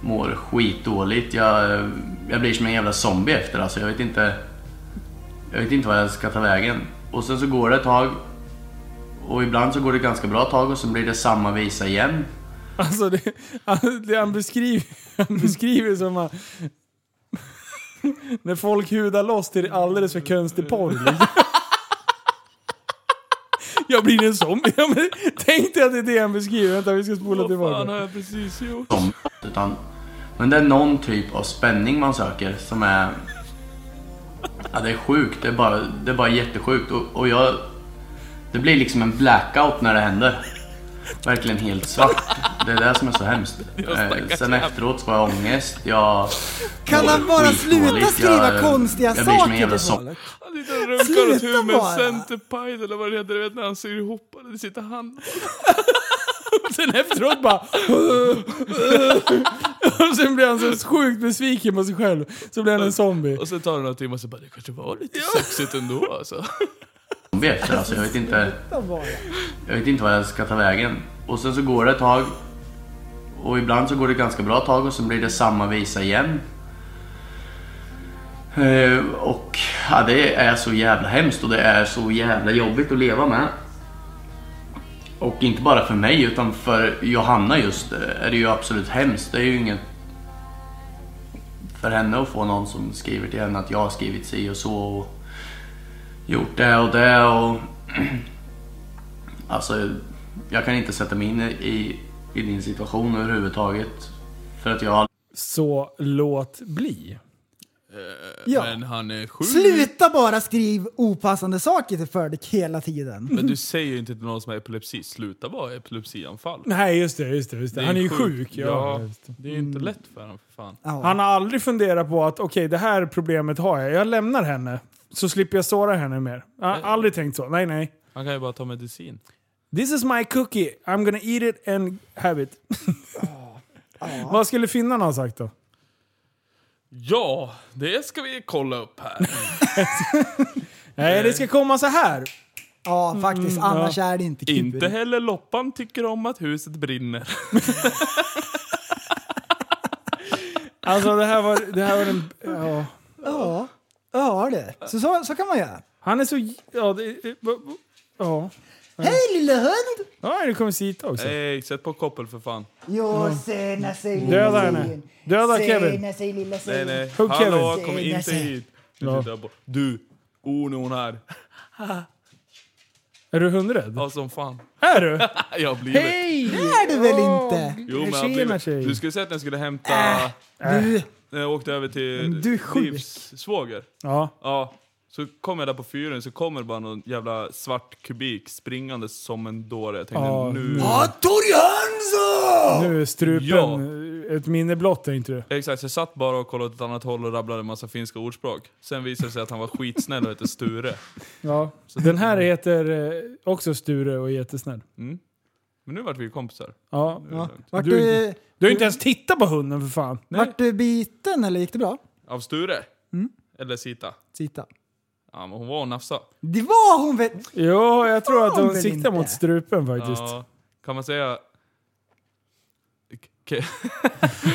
S7: mår skitdåligt, jag, eh, jag blir som en jävla zombie efter alltså. Jag vet inte, jag vet inte vad jag ska ta vägen. Och sen så går det ett tag och ibland så går det ganska bra tag och sen blir det samma visa igen.
S3: Alltså det, han- det han beskriver, han beskriver som att... När folk hudar loss till alldeles för konstig porr. liksom. Jag blir en zombie. Ja, men Tänk dig att det är det han beskriver. Vänta, vi ska spola
S5: Vad fan har
S3: tillbaka.
S5: jag precis gjort?
S7: Zombie, utan, men det är någon typ av spänning man söker som är... Ja, det är sjukt, det är bara, det är bara jättesjukt. Och, och jag, det blir liksom en blackout när det händer. Verkligen helt svart. Det är det som är så hemskt. Eh, Sen efteråt så får jag ångest, jag...
S4: Kan
S7: mår
S4: han bara
S7: skitdåligt,
S4: sluta skriva
S7: jag-
S4: konstiga
S7: jag blir som en
S4: saker
S7: jävla
S4: till
S7: zombie.
S4: folk?
S5: Han sitter och runkar åt
S4: Sluta
S5: huvudet med
S4: bara.
S5: centerpaj eller vad det heter. Du vet när han syr ihop det. Det sitter han.
S3: Sen efteråt bara... Och sen blir han så sjukt besviken på sig själv. Så blir han en zombie.
S5: Och sen tar det några timmar och så bara det kanske var lite sexigt ändå alltså.
S7: zombie efter alltså. Jag vet inte... Jag vet inte vad jag ska ta vägen. Och sen så går det ett tag. Och ibland så går det ganska bra tag och sen blir det samma visa igen. Eh, och ja, det är så jävla hemskt och det är så jävla jobbigt att leva med. Och inte bara för mig utan för Johanna just eh, är det ju absolut hemskt. Det är ju inget för henne att få någon som skriver till henne att jag har skrivit si och så och gjort det och det och Alltså, jag kan inte sätta mig in i, i din situation överhuvudtaget. För att jag har
S3: Så låt bli.
S4: Ja.
S5: Men han är sjuk.
S4: Sluta bara skriv opassande saker till Furdick hela tiden.
S5: Men du säger ju inte till någon som har epilepsi, sluta vara epilepsianfall.
S3: Nej, just det. Just det, just det. Han är ju sjuk.
S5: ja.
S3: ja. Mm. just det.
S5: Det är ju inte lätt för honom för fan.
S4: Ja.
S3: Han har aldrig funderat på att okej, det här problemet har jag. Jag lämnar henne. Så slipper jag såra henne mer. Jag har aldrig tänkt så. Nej, nej.
S5: Han kan ju bara ta medicin.
S3: This is my cookie. I'm gonna eat it and have it. Vad skulle finnarna ha sagt då?
S5: Ja, det ska vi kolla upp här.
S3: Nej, det ska komma så här.
S4: ja, faktiskt. Annars
S3: Mm, ja.
S4: är det inte kul.
S5: inte heller Loppan tycker om att huset brinner.
S3: Alltså det här var, det här var den... Ja.
S4: Ja, ja det. Så, så, så kan man göra.
S3: Han är så... Ja, det, ja.
S4: Hej lilla hund!
S3: ja det kommer Sita också.
S5: Nej, sätt på koppel för fan.
S8: Jo, sena sig lilla
S3: Döda henne.
S8: tjejen.
S3: Döda Kevin.
S8: Sena sig lilla
S5: Nej,
S8: tjejen.
S5: nej.
S3: Hugg
S5: Hallå,
S3: Kevin.
S5: kom inte hit. Du,
S3: Ja.
S5: tittar på- du, oh nu är hon här.
S3: Är du hundrädd?
S5: Ja, som fan.
S3: Är du?
S5: Jag har blivit.
S4: Det är du väl inte?
S5: Jo, men jag har
S3: Tjena,
S5: blivit.
S3: tjej.
S5: Du skulle sett när jag skulle hämta... Äh.
S4: Du,
S5: När jag åkte över till
S4: du är sjuk.
S5: Livs svåger.
S3: Ja.
S5: Ja. Så kom jag där på fyren så kommer det bara någon jävla svart kubik springande som en dåre. Jag tänkte
S3: Ja,
S5: nu...
S3: Nu är strupen
S5: Ja.
S3: ett minne blott, är inte du?
S5: Exakt, så jag satt bara och kollade åt ett annat håll och rabblade en massa finska ordspråk. Sen visade det sig att han var skitsnäll och hette Sture.
S3: Ja. Den här heter eh, också Sture och är jättesnäll.
S5: Men nu vart vi kompisar.
S3: Ja.
S5: Ja.
S4: vart
S3: Du-
S4: du,
S3: Du har inte ens tittat på hunden för fan.
S4: vart du biten eller gick det bra?
S5: Av Sture? Eller Sita?
S4: Sita.
S5: Ja, men hon var och nafsade.
S4: Det var hon väl?
S3: Jo, jag tror att
S4: Fan
S3: hon
S4: väl
S3: siktar
S4: inte.
S3: mot strupen faktiskt.
S5: Ja, kan man säga... Ke-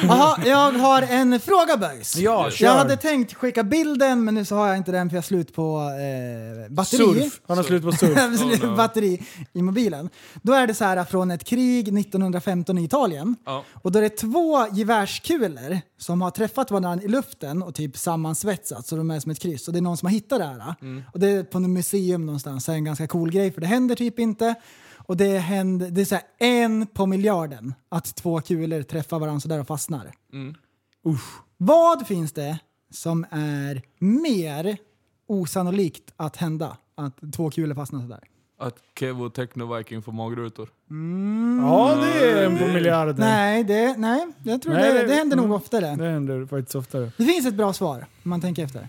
S4: Jaha, jag har en fråga Böjs.
S3: Ja,
S4: jag hade tänkt skicka bilden men nu så har jag inte den för jag har slut på eh, batteri.
S3: Surf. Han har slut på surf.
S4: Absolut,
S5: Oh no.
S4: batteri i mobilen. Då är det så här från ett krig 1915 i Italien.
S5: Ja.
S4: Och då är det två gevärskulor som har träffat varandra i luften och typ sammansvetsat så de är som ett kryss. Och det är någon som har hittat det här. Och det är på något museum någonstans. Så är det en ganska cool grej för det händer typ inte. Och det, händer, det är så här en på miljarden att två kulor träffar varandra sådär och fastnar. Usch. Vad finns det som är mer osannolikt att hända? Att två kulor fastnar sådär.
S5: Att Kevo Technoviking får magrutor.
S3: Ja, det är en på miljarden.
S4: Nej, det, nej, jag tror
S3: Nej,
S4: det,
S3: det-
S4: det, händer nog
S3: mm.
S4: oftare.
S3: Det händer faktiskt oftare.
S4: Det finns ett bra svar om man tänker efter.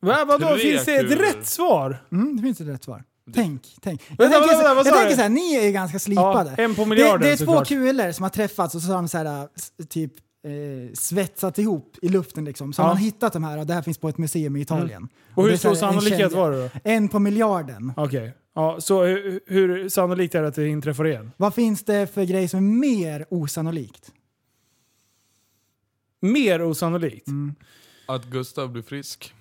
S3: Va, vadå,
S5: Tre
S3: finns det ett
S5: kulor.
S3: rätt svar?
S4: Mm, det finns ett rätt svar. Tänk, tänk. Jag
S3: Vänta,
S4: tänker,
S3: vänta,
S4: så,
S3: vad
S4: jag
S3: sa
S4: tänker
S3: du?
S4: så här, ni är ganska slipade.
S3: Ja, en på
S4: det,
S3: miljarden
S4: det är två
S3: såklart.
S4: kulor som har träffats och så har de så här, s- typ eh, svetsat ihop i luften liksom. Så
S3: Ja. Mm.
S4: har man hittat de här och det här finns på ett museum i Italien.
S3: Och
S4: det
S3: hur
S4: är så här
S3: stor
S4: en
S3: sannolikhet
S4: kedja.
S3: var det då?
S4: En på miljarden.
S3: Okej. Ja, så hur, hur sannolikt är det att det inträffar igen?
S4: Vad finns det för grej som är mer osannolikt?
S3: Mer osannolikt?
S4: Mm.
S5: Att Gustav blir frisk.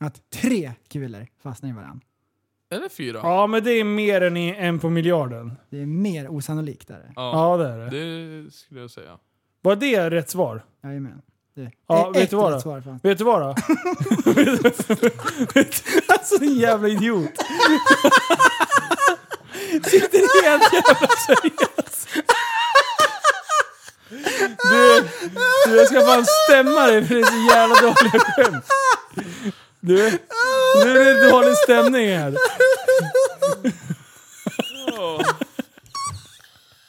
S4: Att tre kulor fastnar i varandra.
S5: Eller fyra.
S3: Ja, men det är mer än i- en på miljarden.
S4: Det är mer osannolikt. Är det.
S5: Ja,
S3: Ja, det är det.
S5: Det skulle jag säga.
S3: Var det rätt svar?
S4: Jajamän. Det,
S3: Ja,
S4: det
S3: vet
S4: är ett
S3: du vad
S4: rätt
S3: då?
S4: svar fanns.
S3: Vet du vad då? alltså en jävla idiot. Sitter helt jävla seriös. Du, du, jag ska fan stämma dig för det är så jävla dåliga skämt. Du, nu är det dålig stämning här.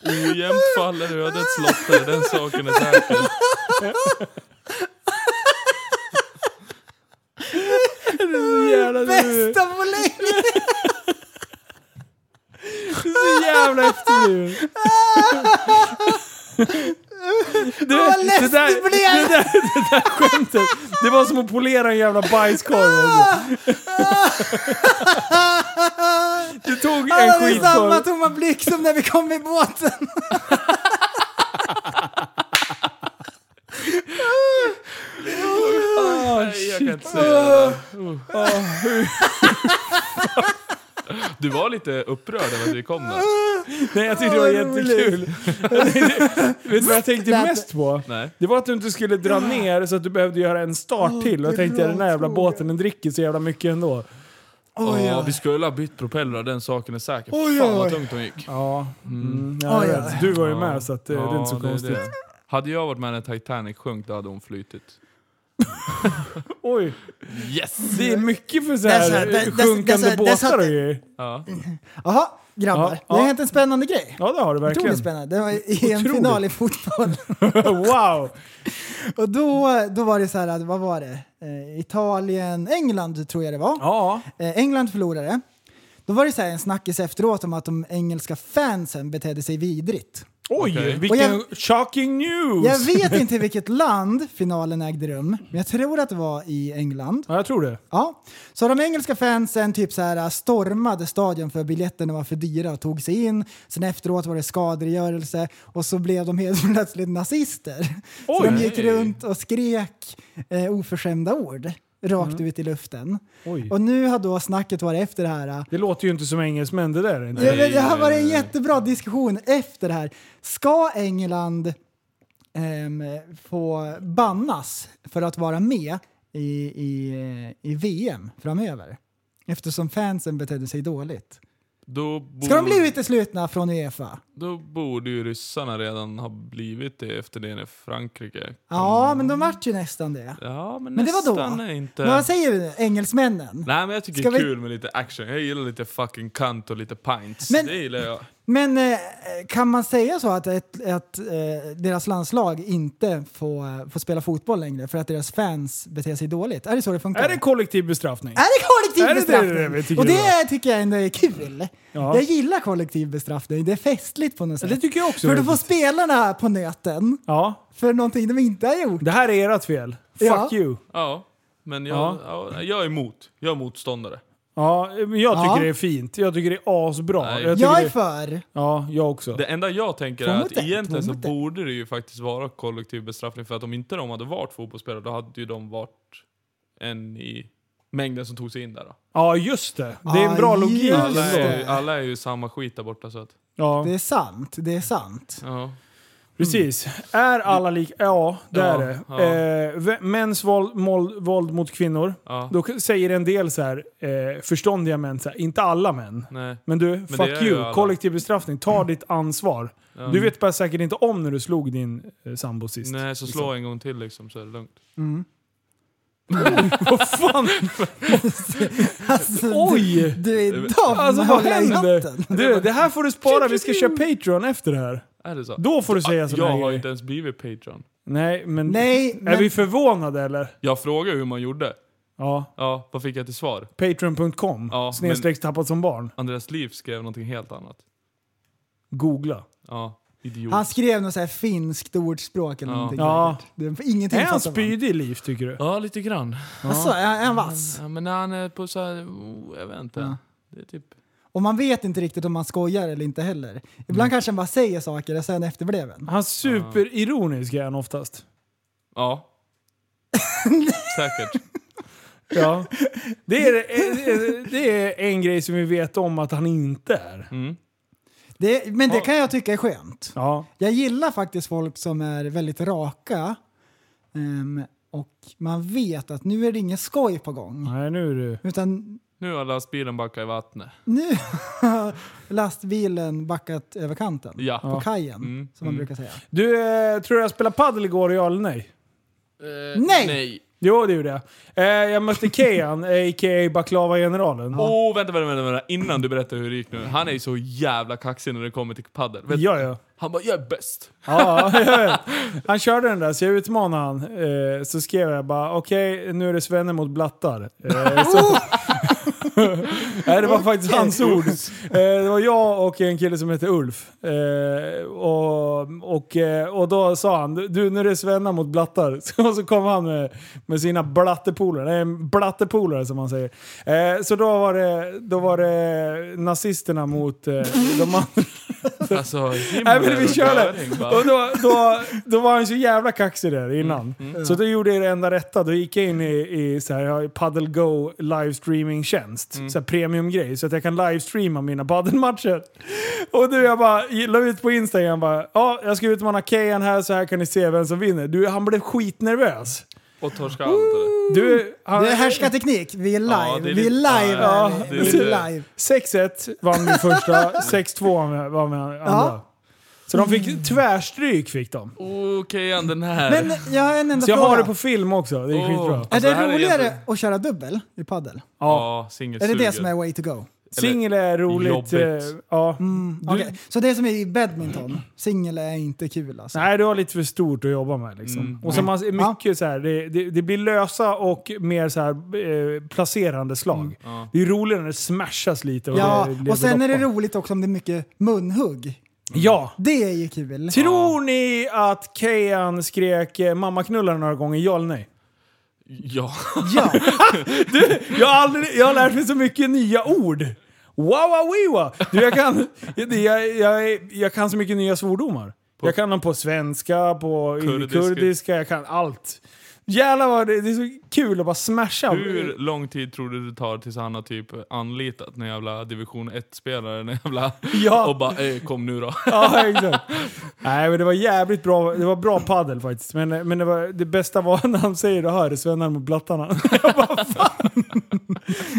S5: Ojämnt faller ödets lotter, den saken är säker.
S3: Jävla, du är
S4: Bästa på länge!
S3: så jävla efterbliven. Du,
S4: Vad less
S3: det där-
S4: du blev!
S3: Det där, det där skämtet, det var som att polera en jävla bajskorv.
S4: Ah,
S3: Alltså. Du tog en
S4: Alla det är samma
S3: skitkorv.
S4: tomma blick som när vi kom i båten.
S5: Nej, jag kan inte säga det. Du var lite upprörd över att vi kom där.
S3: Nej, jag tyckte det var
S4: Åh, vad roligt.
S3: jättekul. Vet du vad jag tänkte
S4: That-
S3: mest på?
S5: Nej.
S3: Det var att du inte skulle dra ner så att du behövde göra en start till. Och jag tänkte
S4: bra
S3: den här jävla
S4: fråga.
S3: båten den dricker så jävla mycket ändå.
S4: Oj,
S5: Åh,
S4: ja.
S5: vi skulle ha bytt propellrar, den saken är säker.
S4: Oj,
S5: Fan vad
S4: oj.
S5: tungt hon gick.
S3: Ja. Mm. jag
S4: Oj,
S3: vet.
S4: oj.
S3: Du var ju med så att, eh, det är
S5: Ja,
S3: inte så
S5: är
S3: konstigt.
S5: det. Hade jag varit med när Titanic sjönk, då hade hon flytit.
S3: Oj,
S5: Yes!
S3: det är mycket för så
S4: Det är så här,
S3: här,
S4: det- det- det-
S3: sjunkande
S4: det- det- det-
S3: båtar och grejer.
S5: Ja.
S4: Jaha, grabbar.
S3: Ja,
S4: Det har
S3: ja.
S4: hänt en spännande grej.
S3: Ja det har du verkligen.
S4: Otroligt spännande. Det var i en
S3: Otroligt.
S4: final i fotboll.
S3: wow!
S4: Och då, då var det så här, att- vad var det? Eh, Italien, England tror jag det var.
S3: Ja.
S4: Eh, England förlorade. Då var det så här en snackis efteråt om att de engelska fansen betedde sig vidrigt.
S3: Oj,
S5: Okej.
S3: vilken
S4: Och
S3: shocking news!
S4: Jag vet inte i vilket land finalen ägde rum, men jag tror att det var i England.
S3: Ja, jag tror det.
S4: Ja. Så de engelska fansen typ så här stormade stadion för biljetterna var för dyra och tog sig in. Sen efteråt var det skadegörelse och så blev de helt plötsligt nazister. så
S3: Oj.
S4: de gick runt och skrek eh, oförskämda ord rakt ut i luften.
S3: Mm. Oj.
S4: Och nu har då snacket varit efter det här. äh,
S3: Det låter ju inte som engelsmän det där. Inte.
S4: Det, det har varit en jättebra diskussion efter det här. Ska England ehm, få bannas för att vara med i, i, i VM framöver? Eftersom fansen betedde sig dåligt.
S5: Då, bor,
S4: Ska de
S3: Mm.
S4: bli uteslutna från Uefa?
S5: då borde ju ryssarna redan ha blivit det efter det när Frankrike...
S3: Mm.
S4: Ja, men de vart ju nästan det.
S5: Ja, men,
S4: Men det var då.
S5: nästan är inte...
S4: Men vad säger du? Engelsmännen?
S5: Nej men jag tycker
S4: Ska
S5: det är
S4: vi-
S5: kul med lite action. Jag gillar lite fucking cunt och lite pints.
S4: Men-
S5: Det gillar jag.
S4: Men eh, kan man säga så att, ett, att eh, deras landslag inte får, får spela fotboll längre för att deras fans beter sig dåligt? Är det så det funkar?
S3: Är det kollektiv bestraffning?
S4: Är det kollektiv
S3: Är det det
S4: bestraffning?
S3: vi tycker
S4: och
S3: det
S4: det tycker jag ändå är kul.
S3: Ja.
S4: Jag gillar kollektiv bestraffning. Det är festligt på något sätt.
S3: det tycker jag också.
S4: För då får spelarna på nöten
S3: Ja,
S4: för någonting de inte har gjort.
S3: det här är ert fel. Fuck
S4: Ja.
S3: you.
S5: Ja. Men jag,
S3: Ja.
S5: ja. jag är emot. Jag är motståndare.
S3: Ja, men jag tycker
S4: Ja.
S3: det är fint. Jag tycker det är asbra.
S5: Nej.
S3: Jag tycker
S4: Jag är
S3: det-
S4: för.
S3: Ja, jag också.
S5: Det enda jag tänker
S4: Två
S5: är
S4: mot
S5: att
S4: ett,
S5: egentligen
S4: två
S5: så
S4: mot ett.
S5: borde det ju faktiskt vara kollektiv bestraffning för att om inte de hade varit fotbollsspelare då hade ju de varit en i mängden som tog sig in där. Då.
S3: Ja, just det. Det är en bra
S4: Ja,
S3: logik
S4: just
S5: Alla, är, ju-
S4: det.
S3: ändå.
S5: alla är ju samma skit där borta så att...
S3: Ja,
S4: Det är sant. Det är sant.
S5: Ja.
S3: precis. Är alla lika? Ja, det
S5: Ja,
S3: är det.
S5: ja.
S3: Eh, vä- mäns våld, mål, våld mot kvinnor.
S5: ja.
S3: Då k- säger en del så här, eh, förståndiga män, så här, inte alla män.
S5: Nej.
S3: Men du,
S5: det
S3: fuck
S5: är ju
S3: you.
S5: alla. Mm.
S3: Kollektiv bestraffning. Ta ditt ansvar.
S5: Ja.
S3: Du vet bara säkert inte om när du slog din eh, sambo sist.
S5: Nej, så slå en gång till liksom så är det lugnt.
S3: Vad fan?
S4: Alltså,
S3: Oj!
S4: Du, du är dum.
S3: Alltså vad
S4: Hålla i natten.
S3: händer? Du, det här får du spara. Vi ska köra Patreon efter det här.
S5: Är det så?
S3: Då får du säga
S5: jag
S3: sådana
S5: har
S3: grejer.
S5: inte ens blivit Patreon.
S3: Nej, men...
S4: Nej,
S3: Är
S4: men-
S3: vi förvånade eller?
S5: Jag frågade hur man gjorde.
S3: Ja.
S5: Ja, vad fick jag till svar?
S3: Patreon.com.
S5: Ja,
S3: snedstreck tappat som barn.
S5: Andreas Liv skrev någonting helt annat.
S3: Googla.
S5: Ja, idiot.
S4: Han skrev något så här finskt ordspråk eller
S5: Ja.
S4: någonting.
S3: Ja.
S4: säkert. Det, ingenting
S3: Är han
S4: fattar man.
S3: spydig Liv tycker du?
S5: Ja, lite grann.
S4: Alltså, är är han vass?
S5: Ja, men när han är på så här, oh, jag vet inte.
S4: Ja.
S5: Det är typ...
S4: Och man vet inte riktigt om man skojar eller inte heller. Ibland
S3: Mm.
S4: kanske han bara säger saker och sen efterblev en.
S3: Han är superironisk är han oftast.
S5: Ja. Säkert.
S3: Ja. Det är, eh, det är en grej som vi vet om att han inte är.
S4: Det, men det kan jag tycka är skönt.
S3: Ja.
S4: Jag gillar faktiskt folk som är väldigt raka ehm, och man vet att nu är det ingen skoj på gång.
S3: Nej, nu är du...
S4: Utan
S5: Nu har lastbilen backat i vattnet.
S4: nu har lastbilen backat över kanten.
S5: Ja.
S4: På kajen,
S5: Mm,
S4: som man
S5: mm.
S4: brukar säga.
S3: Du, eh, tror jag spelade padel igår, ja eller nej?
S4: Nej!
S3: Jo, det gjorde jag. Eh, jag mötte Keyan, a.k.a. Baklava-generalen.
S5: Åh, oh, vänta, vänta, vänta, vänta. Innan du berättar hur det gick nu. Han är ju så jävla kaxig när det kommer till padel. Vet-
S3: Ja, ja.
S5: Han bara, jag är bäst.
S3: ja jag vet. han körde den där, så jag utmanade han. Eh, så skrev jag bara, okej, nu är det Svenne mot blattar. Eh, så, Nej, det var faktiskt hans ord. Eh, det var jag och en kille som hette Ulf. Eh, och, och, eh, och då sa han, du nu är det Svenna mot blattar. Så, och så kom han med, med sina blattepolare, nej en blattepolare som han säger. Eh, så då var det, då var det nazisterna mot eh, de andra.
S5: Alltså,
S3: Nej
S5: himlen
S3: men vi
S5: och
S3: kör
S5: röring,
S3: det.
S5: va?
S3: Och då, då, då var han så jävla kaxig där innan. Så då gjorde jag det enda rätta. Då gick jag in i, i så här, jag har ju Paddle Go livestreaming-tjänst. Så här premiumgrej. Så att jag kan livestreama mina paddelmatcher. Och du jag bara la ut på Instagram bara ja, jag ska utmana Kejan här så här kan ni se vem som vinner. Du, han blev skitnervös.
S5: Och torska allt eller?
S3: Du, han,
S4: Mm. Det är härskarteknik. Vi är live.
S5: Ja, det är
S4: vi
S5: lite-
S4: är live.
S5: ja,
S4: hörni.
S5: det är
S4: vi är
S5: lite-
S4: live.
S3: 6-1 vann min första, 6-2 vann min andra.
S4: Ja. Mm.
S3: Så de fick tvärstryk fick de.
S5: Okej, okay, den här.
S4: Men jag har en enda
S3: Så jag
S4: fråga.
S3: har det på film också. Det är
S5: Åh.
S3: skitbra.
S4: är
S5: Alltså,
S4: det
S5: det här är
S4: roligare
S5: egentligen-
S4: att köra dubbel i paddel?
S5: ja, singel
S4: Är det
S5: suger.
S4: det som är way to go?
S3: Singel är roligt.
S5: Jobbigt.
S3: eh, Ja.
S4: Okej, Så det är som i badminton, singel är inte kul alltså?
S3: Nej, du har lite för stort att jobba med. Liksom. Och så
S4: Mm.
S3: man, mycket så här, det, det, det blir lösa och mer så här, eh, placerande slag. Det är roligare när det smashas lite. Och
S4: Ja,
S3: det,
S4: och sen är det
S3: loppar.
S4: roligt också om det är mycket munhugg.
S3: Ja.
S4: Det är ju kul.
S3: Tror ni att Keyan skrek eh, mamma knullar några gånger, ja eller nej?
S5: Ja.
S4: Ja,
S3: Jag har, aldrig, jag har lärt mig så mycket nya ord. Wawawiwa! Du, jag, kan, jag, jag, jag, jag kan så mycket nya svordomar. jag kan dem på svenska, på kurdiska,
S5: Kurdiska.
S3: kurdiska jag kan allt. Jävlar vad det, det är så kul att bara smasha.
S5: Hur lång tid tror du det tar tills han har typ anlitat någon jävla division 1-spelare? någon Jävla...
S3: Ja.
S5: Och bara eh, kom nu då.
S3: Ja, exakt. Nej, men det var jävligt bra. Det var bra paddel faktiskt. Men, men det, var, det bästa var när han säger det här, svennar mot blattarna. Jag bara, fan.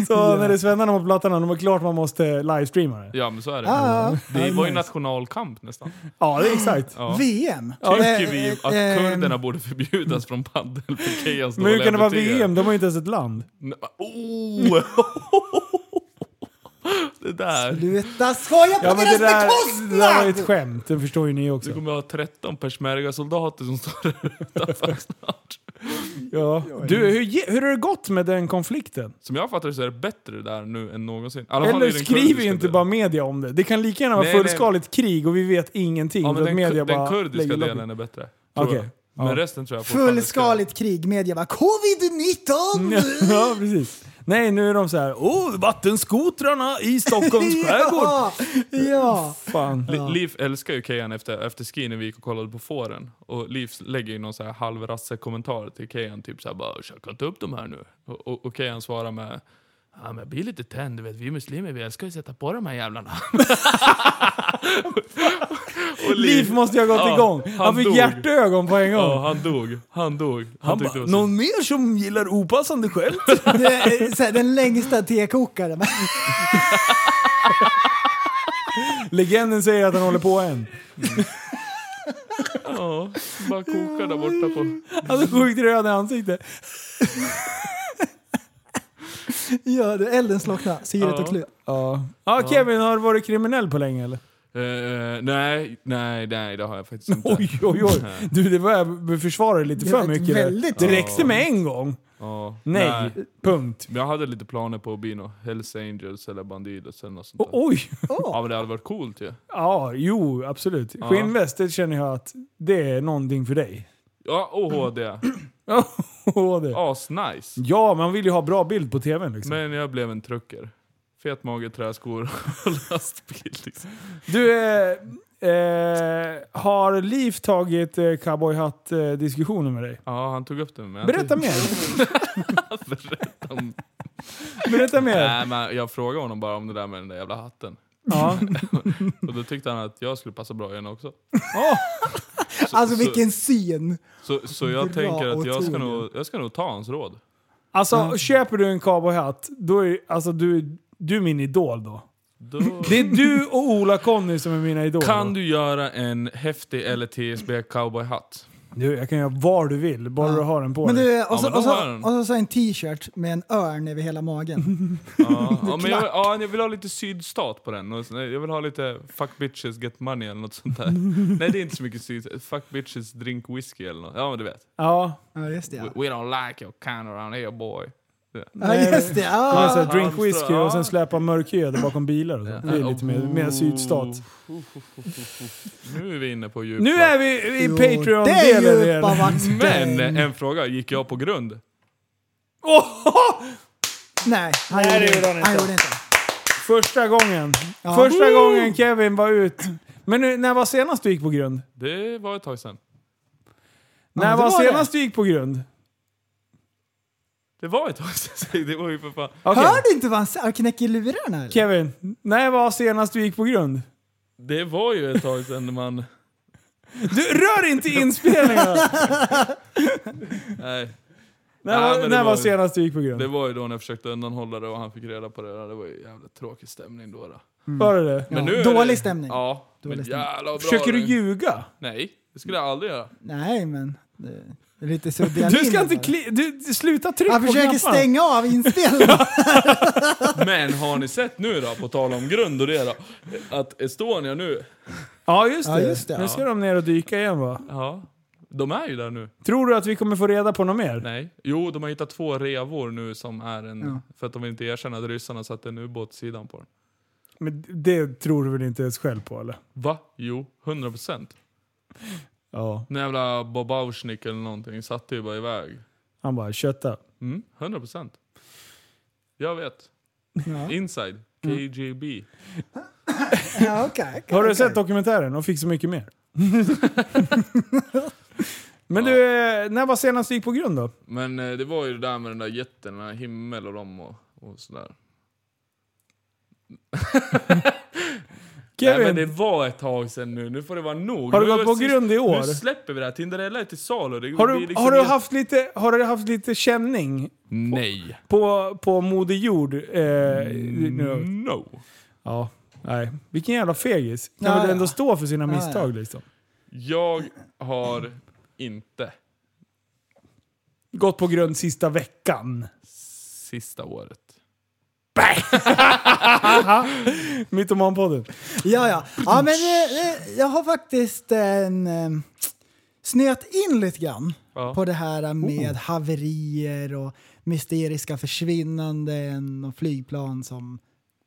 S3: Så när det är svennarna mot blattarna, då är det klart man måste livestreama det.
S5: Ja men så är det.
S4: Ja, ja.
S5: Det
S4: Ja,
S5: var ju
S4: nice.
S5: nationalkamp nästan.
S3: Ja, det är exakt.
S5: Ja.
S4: VM.
S5: Tycker
S4: Eh,
S5: vi att
S4: eh,
S5: kurderna borde förbjudas från padel för Keyans
S3: Men hur kan det vara
S5: betyg?
S3: VM? De har ju inte ens ett land.
S5: N- Oh. det där.
S4: Sluta skoja på
S3: Ja, men det
S4: deras
S3: där, det där var ju
S4: bekostnad!
S3: ett skämt, det förstår ju ni
S5: Du
S3: också.
S5: kommer ha 13 peshmerga-soldater som står där utanför snart.
S3: Ja. Du, hur, ge- hur har det gått med den konflikten?
S5: Som jag fattar det så är det bättre där nu än någonsin. I alla fall i
S3: Eller
S5: den
S3: skriv
S5: kurdiska
S3: inte
S5: delen.
S3: bara media om det. Det kan lika gärna vara
S5: Nej, nej.
S3: fullskaligt krig och vi vet ingenting.
S5: Ja, men
S3: för att
S5: den,
S3: media
S5: den
S3: bara
S5: kurdiska
S3: lägger locket.
S5: delen är bättre. tror
S3: Okej.
S5: jag. Men
S3: Ja.
S5: resten tror jag fortfarande ska-
S4: Fullskaligt krig, media bara covid-19!
S3: Ja, precis. Nej, nu är de så här. Åh, vattenskotrarna i Stockholms skärgård!
S4: ja, ja.
S3: Fan.
S5: Li- Liv älskar ju Keyan efter, efter ski när vi gick och kollade på fåren. Och Liv lägger ju någon så här halvrasse kommentar till Keyan. Typ såhär bara “Käka inte upp de här nu”. Och, och, och Keyan svarar med Ja men jag blir lite tänd, du vet vi muslimer vi älskar ju att sätta på de här jävlarna. och
S3: Liv måste ju ha gått
S5: Ja,
S3: igång. Han,
S5: han
S3: fick
S5: dog.
S3: hjärtögon på en gång.
S5: Ja han dog, han dog. Han,
S3: Han bara,
S5: tyckte det var så...
S3: någon mer som gillar opassande skämt?
S4: Det är så här, den längsta tekokaren.
S3: Legenden säger att han håller på än.
S5: Ja, bara kokar där borta på...
S3: Han är sjukt röd i ansiktet.
S4: Ja, det- elden slocknar, syret och klut.
S3: Ja. ja, Kevin, har du varit kriminell på länge eller?
S5: Eh, nej, nej, nej det har jag faktiskt inte.
S3: Oj, oj, oj. Du, det var jag försvarade lite
S4: Det var
S3: för
S4: ett
S3: mycket. där.
S4: väldigt-
S3: det räckte med en gång.
S5: Ja,
S3: Nej,
S5: nej.
S3: punkt.
S5: Men jag hade lite planer på att bli någon Hells Angels eller Bandidos eller något sånt
S3: O-
S5: där.
S3: oj!
S5: Ja men det hade varit coolt ju.
S3: Ja, jo, absolut. Skinnväst, det känner jag att det är någonting för dig.
S5: Ja, och HD.
S3: Åh, det.
S5: Asnice.
S3: Ja, man vill ju ha bra bild på tvn liksom.
S5: Men jag blev en trucker. Fet mage, träskor och lastbil liksom.
S3: Du, eh, eh, har Liv tagit eh, cowboyhatt-diskussionen med dig?
S5: Ja, han tog upp det med mig.
S3: Berätta mer!
S5: Berätta om...
S3: Berätta mer!
S5: Nej, men jag frågade honom bara om det där med den där jävla hatten.
S3: Ja.
S5: Och då tyckte han att jag skulle passa bra i den också.
S4: Alltså vilken syn!
S5: Så, så jag
S4: Bra
S5: tänker att jag ska,
S4: otroligt.
S5: nog, jag ska nog ta hans råd.
S3: Alltså, köper du en cowboyhatt, då är alltså, du, du är min idol då.
S5: Då
S3: Det är du och Ola-Conny som är mina idoler.
S5: kan du göra en häftig LTSB cowboyhatt.
S3: Du, jag kan göra vad du vill, bara du har den på
S4: Men
S3: dig.
S4: du, och så,
S5: men då
S4: och
S5: har jag
S4: så,
S5: den.
S4: och så, så en t-shirt med en örn över hela magen.
S5: Ja, ja, men jag, ja, jag vill ha lite sydstat på den. Och så- Jag vill ha lite fuck bitches get money eller något sånt där. Nej det är inte så mycket sydstat. Fuck bitches drink whiskey eller något. Ja men du vet.
S3: Ja.
S4: Ja just det ja.
S5: We don't like your kind around here boy.
S4: Ja just det,
S3: Man så
S4: ja.
S3: här, drink
S5: Halmstad,
S3: whisky
S5: ja.
S3: och sen släpa mörkhyade bakom bilar och så. Det är lite mer, mer sydstat.
S5: Nu är vi inne på djupt
S3: Nu är vi i
S4: Det är
S3: Patreon-delen
S4: ju
S3: igen.
S4: vatten.
S5: Men eh, en fråga, gick jag på grund?
S4: Nej, han
S3: Nej, det
S4: gjorde
S3: gjorde
S4: inte.
S3: han inte.
S4: Han gjorde inte.
S3: Första gången. Första gången Kevin var ut Men nu, när var senast du gick på grund?
S5: Det var ett tag sedan.
S3: när
S4: det
S3: var,
S4: var det.
S3: senast du gick på grund?
S5: Det var ett tag sedan. säg, Det var ju för fan.
S3: Okej.
S4: Hör du inte vad han säger? knäcker lurarna eller?
S3: Kevin, när var senast du gick på grund?
S5: Det var ju ett tag sedan man...
S3: Du rör inte inspelningen!
S5: Nej.
S3: när
S5: Nej,
S3: var,
S5: men det
S3: när var
S5: var-
S3: senast du gick på
S5: Det
S3: grund?
S5: var ju då när jag försökte undanhålla det och han fick reda på det. där. Det var ju jävla tråkig stämning då. då.
S3: Var det det?
S5: Men
S4: Ja,
S5: är
S4: dålig
S5: det-
S4: stämning.
S5: Ja,
S4: Dålig
S5: men
S4: stämning.
S5: jävla bra.
S3: Försöker du
S5: det-
S3: ljuga?
S5: Nej, det skulle jag aldrig göra.
S4: Nej men, det det är lite suddiga
S3: Du ska
S4: linjer
S3: inte
S4: bara.
S3: kli- du, du, Sluta trycka
S4: Han
S3: på
S4: försöker
S3: knapparna.
S4: stänga av inspelningen.
S5: Men har ni sett nu då, på tal om grund och det då, att Estonia nu,
S3: Ja just det.
S4: Ja, just det.
S3: Nu ska de ner och dyka igen va?
S5: ja, de är ju där nu.
S3: Tror du att vi kommer få reda på något mer?
S5: Nej. Jo, de har hittat två revor nu som är en,
S4: Ja.
S5: för att de vill inte erkänna att ryssarna satte en ubåt sidan på den.
S3: Men det tror du väl inte ens själv på eller?
S5: Va? Jo, 100 procent.
S3: Ja.
S5: Den jävla Babaushnik eller någonting satte ju bara iväg.
S3: Han bara kötta.
S5: Mm, 100 procent. Jag vet.
S4: Ja.
S5: Inside.
S3: Mm.
S5: KGB.
S4: ja, Ah, okay,
S3: Har du sett dokumentären? De fick så mycket mer. Men du, eh, när var senast du gick på grund då?
S5: Men eh, det var ju det där med den där jätten, den där himmel och dem och, och sådär. Nej,
S3: Kevin,
S5: men det var ett tag sedan nu. Nu får det vara nog.
S3: Har du
S5: Nu
S3: gått
S5: är
S3: på
S5: sist-
S3: grund i år?
S5: Nu släpper vi det här. Tinderella är till salu. Det
S3: har, du,
S5: blir liksom
S3: har, du
S5: helt-
S3: haft lite, har du haft lite känning
S5: Nej.
S3: på, på Moder Jord? Eh,
S5: Mm.
S3: nu?
S5: No.
S3: Ja, nej. Vilken jävla fegis. Kan
S4: Ja,
S3: väl
S4: ja.
S3: ändå stå för sina
S4: ja.
S3: misstag liksom.
S5: Jag har inte
S3: Gått på grund sista veckan.
S5: sista året.
S3: Mytomanpodden.
S4: Ja, ja. ja men, eh, eh, jag har faktiskt en, eh, snöat in lite grann
S5: Ja.
S4: på det här
S3: Oh.
S4: med haverier och mysteriska försvinnanden och flygplan som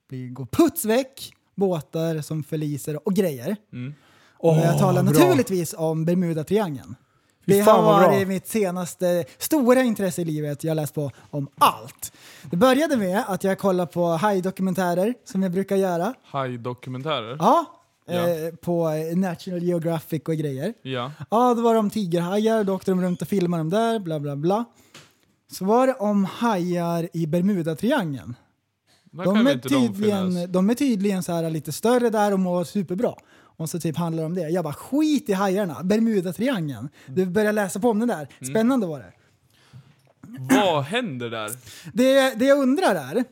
S4: blir, går puts väck, båtar som förliser och grejer. och jag talar
S3: Mm. bra.
S4: naturligtvis om Bermuda-triangeln.
S3: Fy
S4: Det
S3: fan,
S4: har
S3: vad bra.
S4: varit mitt senaste stora intresse i livet. Jag har läst på om allt. Det började med att jag kollade på hajdokumentärer som jag brukar göra.
S5: Haj-dokumentärer?
S4: Ja,
S5: Ja.
S4: Eh, på National Geographic och grejer.
S5: Ja.
S4: Ja, då var de tigerhajar, då åkte de runt och filmade dem där, bla bla bla. Så var det om hajar i Bermudatriangeln.
S5: Där kan
S4: De
S5: väl
S4: är,
S5: inte de
S4: tydligen,
S5: finnas?
S4: de är tydligen så här lite större där och mår superbra. Och så typ handlar det om det. Jag bara skit i hajarna, Bermudatriangeln.
S5: Mm.
S4: Du börjar läsa på om den där. Spännande var det.
S5: Vad händer där?
S4: Det, det jag undrar är,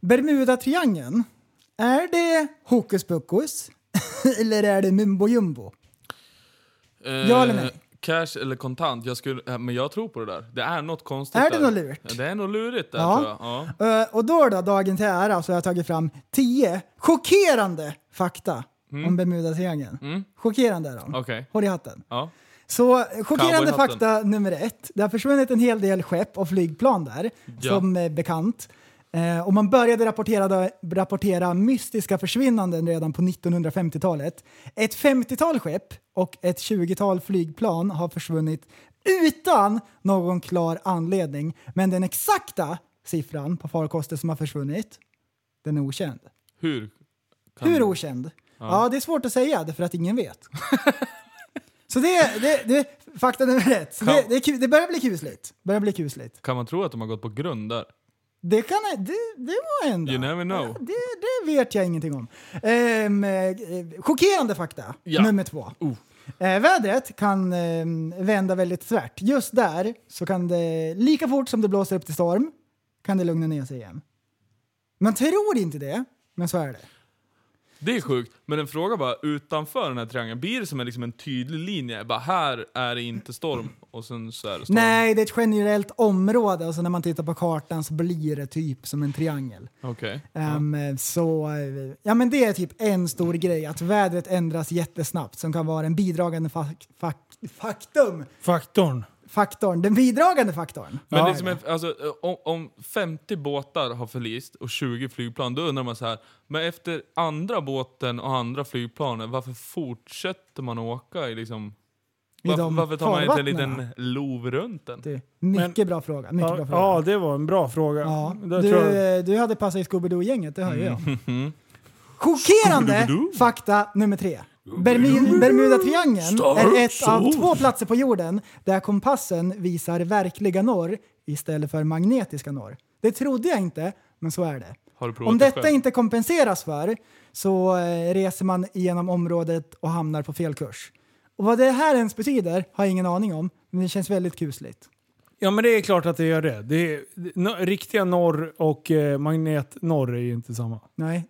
S4: Bermudatriangeln, är det hokus pokus? Eller är det mumbo jumbo? Ja eller nej?
S5: Eh, Cash eller kontant? Jag skulle, eh, men jag tror på det där. Det är något konstigt
S4: Är det
S5: där.
S4: något lurigt?
S5: Det är något lurigt där
S4: Ja.
S5: tror jag. Ja.
S4: Eh, och då då, dagen till ära, så har jag tagit fram 10 chockerande fakta om Bermudatriangeln. Chockerande är de.
S5: Mm. Okej.
S4: Håll i hatten.
S5: Ja.
S4: Så eh, chockerande
S5: Cowboyhatten.
S4: fakta nummer ett. Det har försvunnit en hel del skepp och flygplan där,
S5: Ja.
S4: som är bekant. Eh, och man började rapportera, rapportera mystiska försvinnanden redan på 1950-talet. Ett 50-tal skepp och ett 20-tal flygplan har försvunnit utan någon klar anledning. Men den exakta siffran på farkoster som har försvunnit, den är okänd.
S5: Hur? kan-
S4: Hur okänd? Ja. det är svårt att säga därför att ingen vet. Så det, det, det är fakta nummer ett. Så det, det, är ku- det börjar bli kusligt. Börjar bli kusligt.
S5: Kan man tro att de har gått på grund där?
S4: Det kan det, det må hända.
S5: You never know.
S4: Det, det vet jag ingenting om. Ehm, eh, chockerande fakta,
S5: Ja. Oh.
S4: nummer två. Eh, vädret kan ehm, vända väldigt tvärt. Just där så kan det, lika fort som det blåser upp till storm, kan det lugna ner sig igen. Man tror inte det, men så är det.
S5: Det är sjukt. Men en fråga bara, utanför den här triangeln, blir det som en, liksom en tydlig linje? Bara här är det inte storm och sen så är det storm.
S4: Nej, det är ett generellt område och så när man tittar på kartan så blir det typ som en triangel.
S5: Okej.
S4: Ehm, Så, eh, ja men det är typ en stor grej, att vädret ändras jättesnabbt som kan vara en bidragande fak- fak- faktum.
S3: Faktorn.
S4: Faktorn, den bidragande faktorn.
S5: Men det är som en, alltså, eh, om, om 50 båtar har förlist och 20 flygplan, då undrar man så här. Men efter andra båten och andra flygplanen, varför fortsätter man åka i liksom...
S4: I
S5: Varför,
S4: de
S5: varför tar man inte en
S4: farvattnen.
S5: liten lov runt den?
S4: Du, mycket
S3: Men-
S4: bra fråga. Mycket
S3: Ja,
S4: bra fråga.
S3: ja, det var en bra fråga.
S4: Ja.
S3: Där
S4: Du,
S3: tror jag- Mm. Mm-hmm.
S4: eh, du hade passat i Scooby-Doo-gänget, det hör ju jag. Chockerande fakta nummer tre. Bermi- Bermudatriangeln är ett av två platser på jorden där kompassen visar verkliga norr istället för magnetiska norr. Det trodde jag inte, men så är det.
S5: Har du provat
S4: Om
S5: det
S4: detta
S5: själv?
S4: inte kompenseras för så eh, reser man genom området och hamnar på fel kurs. Och vad det här ens betyder har jag ingen aning om, men det känns väldigt kusligt.
S3: Ja men det är klart att det gör det. det är, no, riktiga norr och eh, magnet-norr är ju inte samma.
S4: Nej,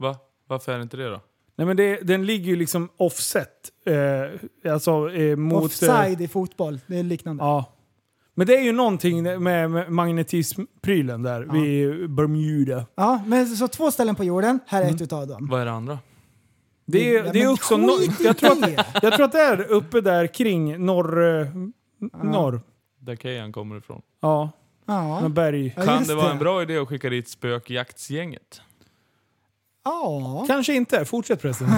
S5: Va? Varför är det inte det då?
S3: Nej men det, den ligger ju liksom offset. Eh, alltså eh, mot... eh,
S4: offside i fotboll, det är liknande.
S3: Ja. Men det är ju någonting med med magnetismprylen där vid Bermuda.
S4: Ja, men så två ställen på jorden, här är ett utav dem.
S5: Vad är det andra?
S3: Mm. Det är,
S4: Ja,
S3: det är
S4: men
S3: också...
S4: skit
S3: No,
S4: i
S3: jag, tror att,
S4: det.
S3: jag tror att det är uppe där kring norr... eh, Norr.
S5: Där Keyan kommer ifrån.
S3: Ja,
S4: Ja.
S3: med berg.
S4: Ja,
S5: Kan
S4: just
S5: det vara en bra idé att skicka dit spökjaktsgänget?
S4: Ja.
S3: Kanske inte. Fortsätt pressen.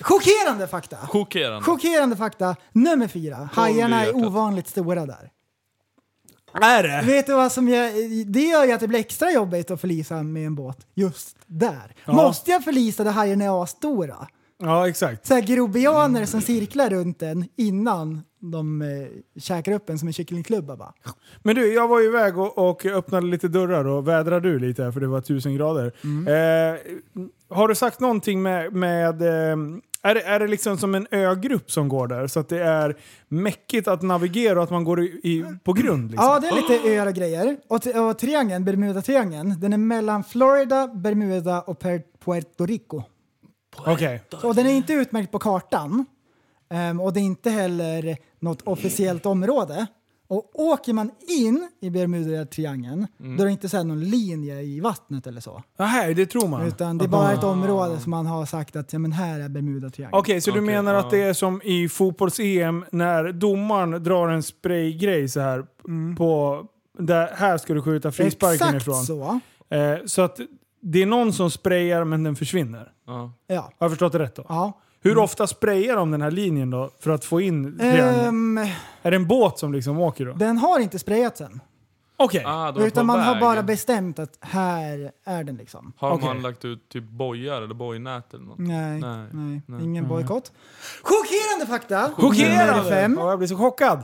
S4: Chockerande fakta!
S5: Chockerande.
S4: Chockerande fakta nummer fyra. Hajarna är
S5: hjärtat.
S4: ovanligt stora där.
S3: är det?
S4: Vet du vad som gör, det gör ju att det blir extra jobbigt att förlisa med en båt just där. Måste jag förlisa där hajarna är stora?
S3: Ja, exakt.
S4: Så här grobianer som cirklar runt den innan de eh, käkar upp en som en kycklingklubba bara.
S3: Men du, jag var ju iväg och, och öppnade lite dörrar och vädrade du lite här för det var tusen grader.
S4: Mm.
S3: Eh, har du sagt någonting med... med ehm, är, det, är det liksom som en ögrupp som går där? Så att det är mäckigt att navigera och att man går i, i, på grund? Liksom.
S4: Ja, det är lite öar och grejer. Och, t- och triangeln, Bermuda-triangeln, den är mellan Florida, Bermuda och per- Puerto Rico.
S3: Okej.
S4: Och den är inte utmärkt på kartan. Ehm, och det är inte heller något officiellt område. Och åker man in i Bermuda-triangeln,
S3: Mm.
S4: då är det inte så här någon linje i vattnet eller så.
S3: Okay. det tror man. Okej,
S4: Utan det är bara
S3: Ah.
S4: ett område som man har sagt att ja, men här är Bermuda-triangeln.
S3: så du
S5: Okej,
S3: menar
S5: ja.
S3: att det är som i fotbolls-EM när domaren drar en spraygrej så här på... Där, här ska du skjuta frisparken
S4: Mm. Exakt
S3: ifrån. Så.
S4: så.
S3: Eh, så att det är någon som sprayar men den försvinner.
S5: Ja.
S4: Ja.
S3: Har jag förstått det rätt då? Ah.
S4: ja.
S3: Hur ofta sprayar de den här linjen då för att få in triangeln?
S4: Ehm,
S3: Är det en båt som liksom åker då?
S4: den har inte sprayats än.
S3: Okej.
S5: Ah, de är på
S4: Utan man har
S5: väg.
S4: bara bestämt att här är den liksom.
S5: Har
S3: Okej.
S5: man lagt ut typ bojar eller bojnät eller något? Nej,
S4: Nej, nej,
S5: nej.
S3: Mm.
S4: ingen bojkott. Chockerande fakta!
S3: Chockerande!
S4: Nummer fem.
S3: Ja, jag blir så chockad.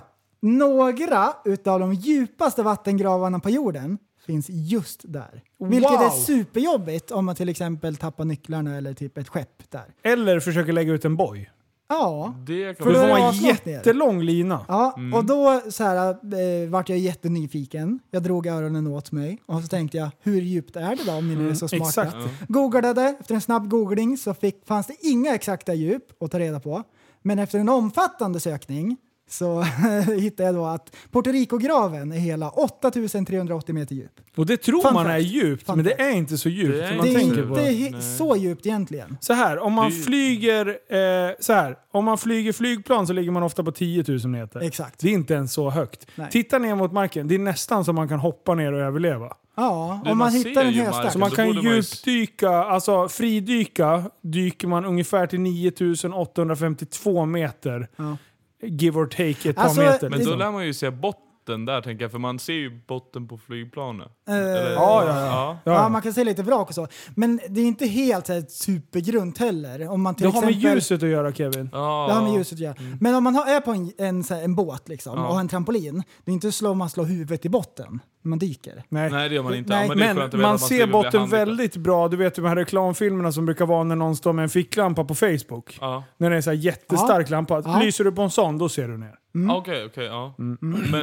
S4: Några utav de djupaste vattengravarna på jorden finns just där. Vilket
S3: Wow!
S4: är superjobbigt om man till exempel tappar nycklarna eller typ ett skepp där.
S3: Eller försöker lägga ut en boj.
S4: Ja,
S5: Det kan
S3: För
S4: För
S3: då
S4: då
S5: vara...
S4: är
S3: får
S4: det
S3: man
S4: avsnitt ner.
S3: jättelång lina.
S4: ja
S5: Mm.
S4: och då så här, eh, vart jag jättenyfiken. Jag drog öronen åt mig och så tänkte jag hur djupt är det då om ni nu är så smarta?
S3: Mm. exakt.
S4: Googlade, efter en snabb googling så fick, fanns det inga exakta djup att ta reda på. Men efter en omfattande sökning så hittade jag då att Puerto Rico-graven är hela 8380 meter djup.
S3: Och det tror
S4: Fun
S3: man
S4: fact.
S3: är djupt,
S4: Fun
S3: men det
S4: fact.
S3: är inte så
S5: Det
S3: djupt
S5: är
S3: som man
S4: Det är
S3: tänker
S4: inte
S3: på.
S4: he- så djupt egentligen.
S3: Så här, om man
S5: Det är ju-
S3: flyger eh, så här, om man flyger flygplan så ligger man ofta på 10 000 meter.
S4: Exakt.
S3: Det är inte ens så högt.
S4: Nej.
S3: Titta ner mot marken, det är nästan som man kan hoppa ner och överleva.
S4: Ja,
S5: Du, man
S4: om man
S5: ser
S4: hittar en
S5: ju
S4: höstack.
S5: marken.
S3: Man
S5: Då
S3: kan
S5: borde man ju-
S3: djupdyka, alltså fridyka, dyker man ungefär till 9852 meter.
S4: Ja.
S3: Give or take ett
S4: Alltså,
S3: par meter.
S5: Men
S3: liksom.
S5: då lär man ju se botten där tänker jag, för man ser ju botten på flygplanet. Eller-
S3: ja, ja,
S5: ja.
S3: ja,
S4: Eh, Ja,
S3: ja.
S4: man kan se lite vrak och så. Men det är inte helt så här, supergrunt heller. Om man till
S3: Det har med
S4: exempel,
S3: ljuset att göra Kevin.
S5: Ja. Mm.
S4: Det har med ljuset att göra. Men om man har, är på en, en, så här, en båt liksom,
S5: Ja.
S4: och har en trampolin, det är inte så man slår huvudet i botten när man dyker.
S3: Nej.
S5: Nej det gör man inte.
S4: Nej,
S5: ja, men det är
S3: Men
S5: skönt att
S3: man,
S5: veta att
S3: ser
S5: slipper bli
S3: botten
S5: handikappad.
S3: väldigt bra. Du vet de här reklamfilmerna som brukar vara när någon står med en ficklampa på Facebook.
S5: Ja.
S3: När det är så här jättestark lampa.
S4: Ja.
S3: Lyser du på en sån, då ser du ner.
S5: Ah, Okej, okej. ja. Men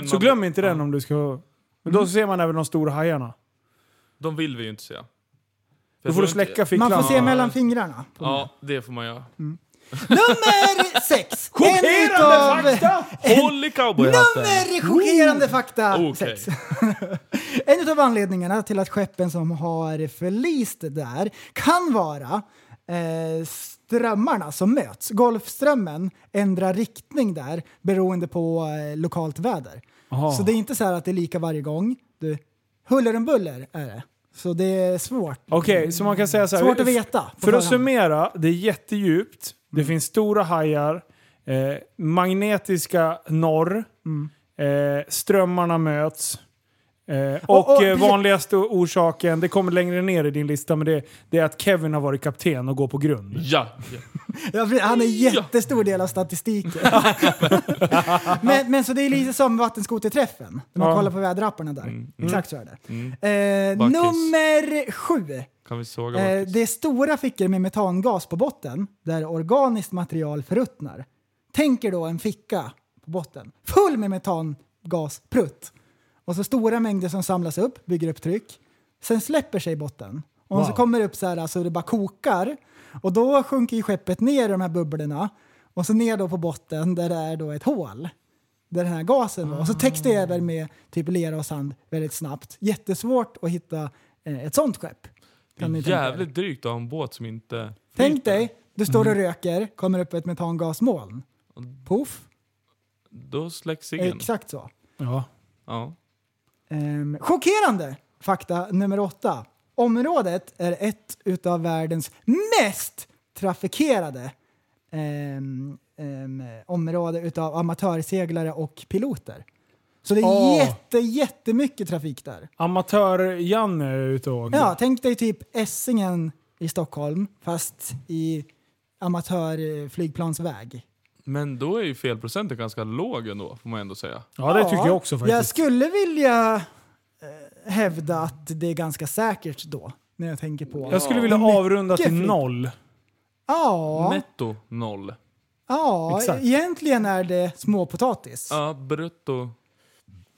S3: Så
S5: man,
S3: glöm inte den om du ska... Men då ser man även de stora hajarna.
S5: de vill vi ju inte se. För jag
S3: Då
S5: tror
S3: får du
S5: inte-
S3: släcka
S4: Man
S3: ficklampan.
S4: får se
S5: Ja.
S4: mellan fingrarna.
S5: Ja, det får man göra.
S4: Nummer sex! En
S3: Chockerande
S4: utav-
S3: fakta!
S5: Håll i cowboyhatten!
S4: Nummer chockerande fakta
S5: Okej.
S4: sex. En av anledningarna till att skeppen som har förlist där kan vara eh, strömmarna som möts. Golfströmmen ändrar riktning där beroende på eh, lokalt väder. Så det är inte så här att det är lika varje gång. Du, huller om buller är det. Så det är svårt.
S3: Okej, så man kan säga så här.
S4: Svårt att veta på
S3: För att
S4: förhand. Mm.
S3: summera, det är jättedjupt. Det finns stora hajar. Eh,
S4: Mm.
S3: magnetiska norr. Eh, strömmarna möts. Eh, och
S4: och,
S3: eh,
S4: precis.
S3: vanligaste orsaken, det kommer längre ner i din lista, men det, det är att Kevin har varit kapten och går på grund.
S5: Ja, ja.
S4: Ja, för han är en jättestor del av statistiken. men, men så det är lite som vattenskoterträffen, när man
S3: Ja.
S4: kollar på väderapparna där. Exakt så är det. Eh,
S5: Backis.
S4: nummer sju.
S5: Kan vi såga
S4: Eh,
S5: bort?
S4: det är stora fickor med metangas på botten där organiskt material förruttnar. Tänk er då en ficka på botten full med metangasprutt. Och så stora mängder som samlas upp, bygger upp tryck. Sen släpper sig botten. Och så kommer det upp så här så det bara kokar. Och då sjunker ju skeppet ner i de här bubblorna. Och så ner då på botten där det är då ett hål. Där den här gasen var. Och så täcks det över med typ lera och sand väldigt snabbt. Jättesvårt att hitta eh, ett sånt skepp.
S5: Det
S4: kan ni
S5: är
S4: tänka er.
S5: jävligt drygt att ha en båt som inte...
S4: Tänk dig, du står och röker, kommer upp ett metangasmoln. Poff,
S5: Då släcks ciggen.
S4: exakt så.
S3: Ja.
S5: Ja.
S4: Ehm, chockerande fakta nummer åtta. Området är ett utav världens mest trafikerade ehm, ehm, område utav amatörseglare och piloter. Så det är
S3: Åh.
S4: jätte, jättemycket trafik där.
S3: Amatör-Janne är ute och åker.
S4: Ja, tänk dig typ Essingen i Stockholm fast i eh, amatörflygplansväg.
S5: Men då är ju felprocenten ganska låg ändå, får man ändå säga.
S3: ja, det tycker jag också
S4: Jag
S3: faktiskt.
S4: skulle vilja eh, hävda att det är ganska säkert då, när jag tänker på...
S3: Jag skulle vilja avrunda till
S4: fint.
S3: noll.
S4: Ja,
S5: Netto noll.
S4: ja
S3: Exakt.
S4: egentligen är det småpotatis.
S5: Ja, brutto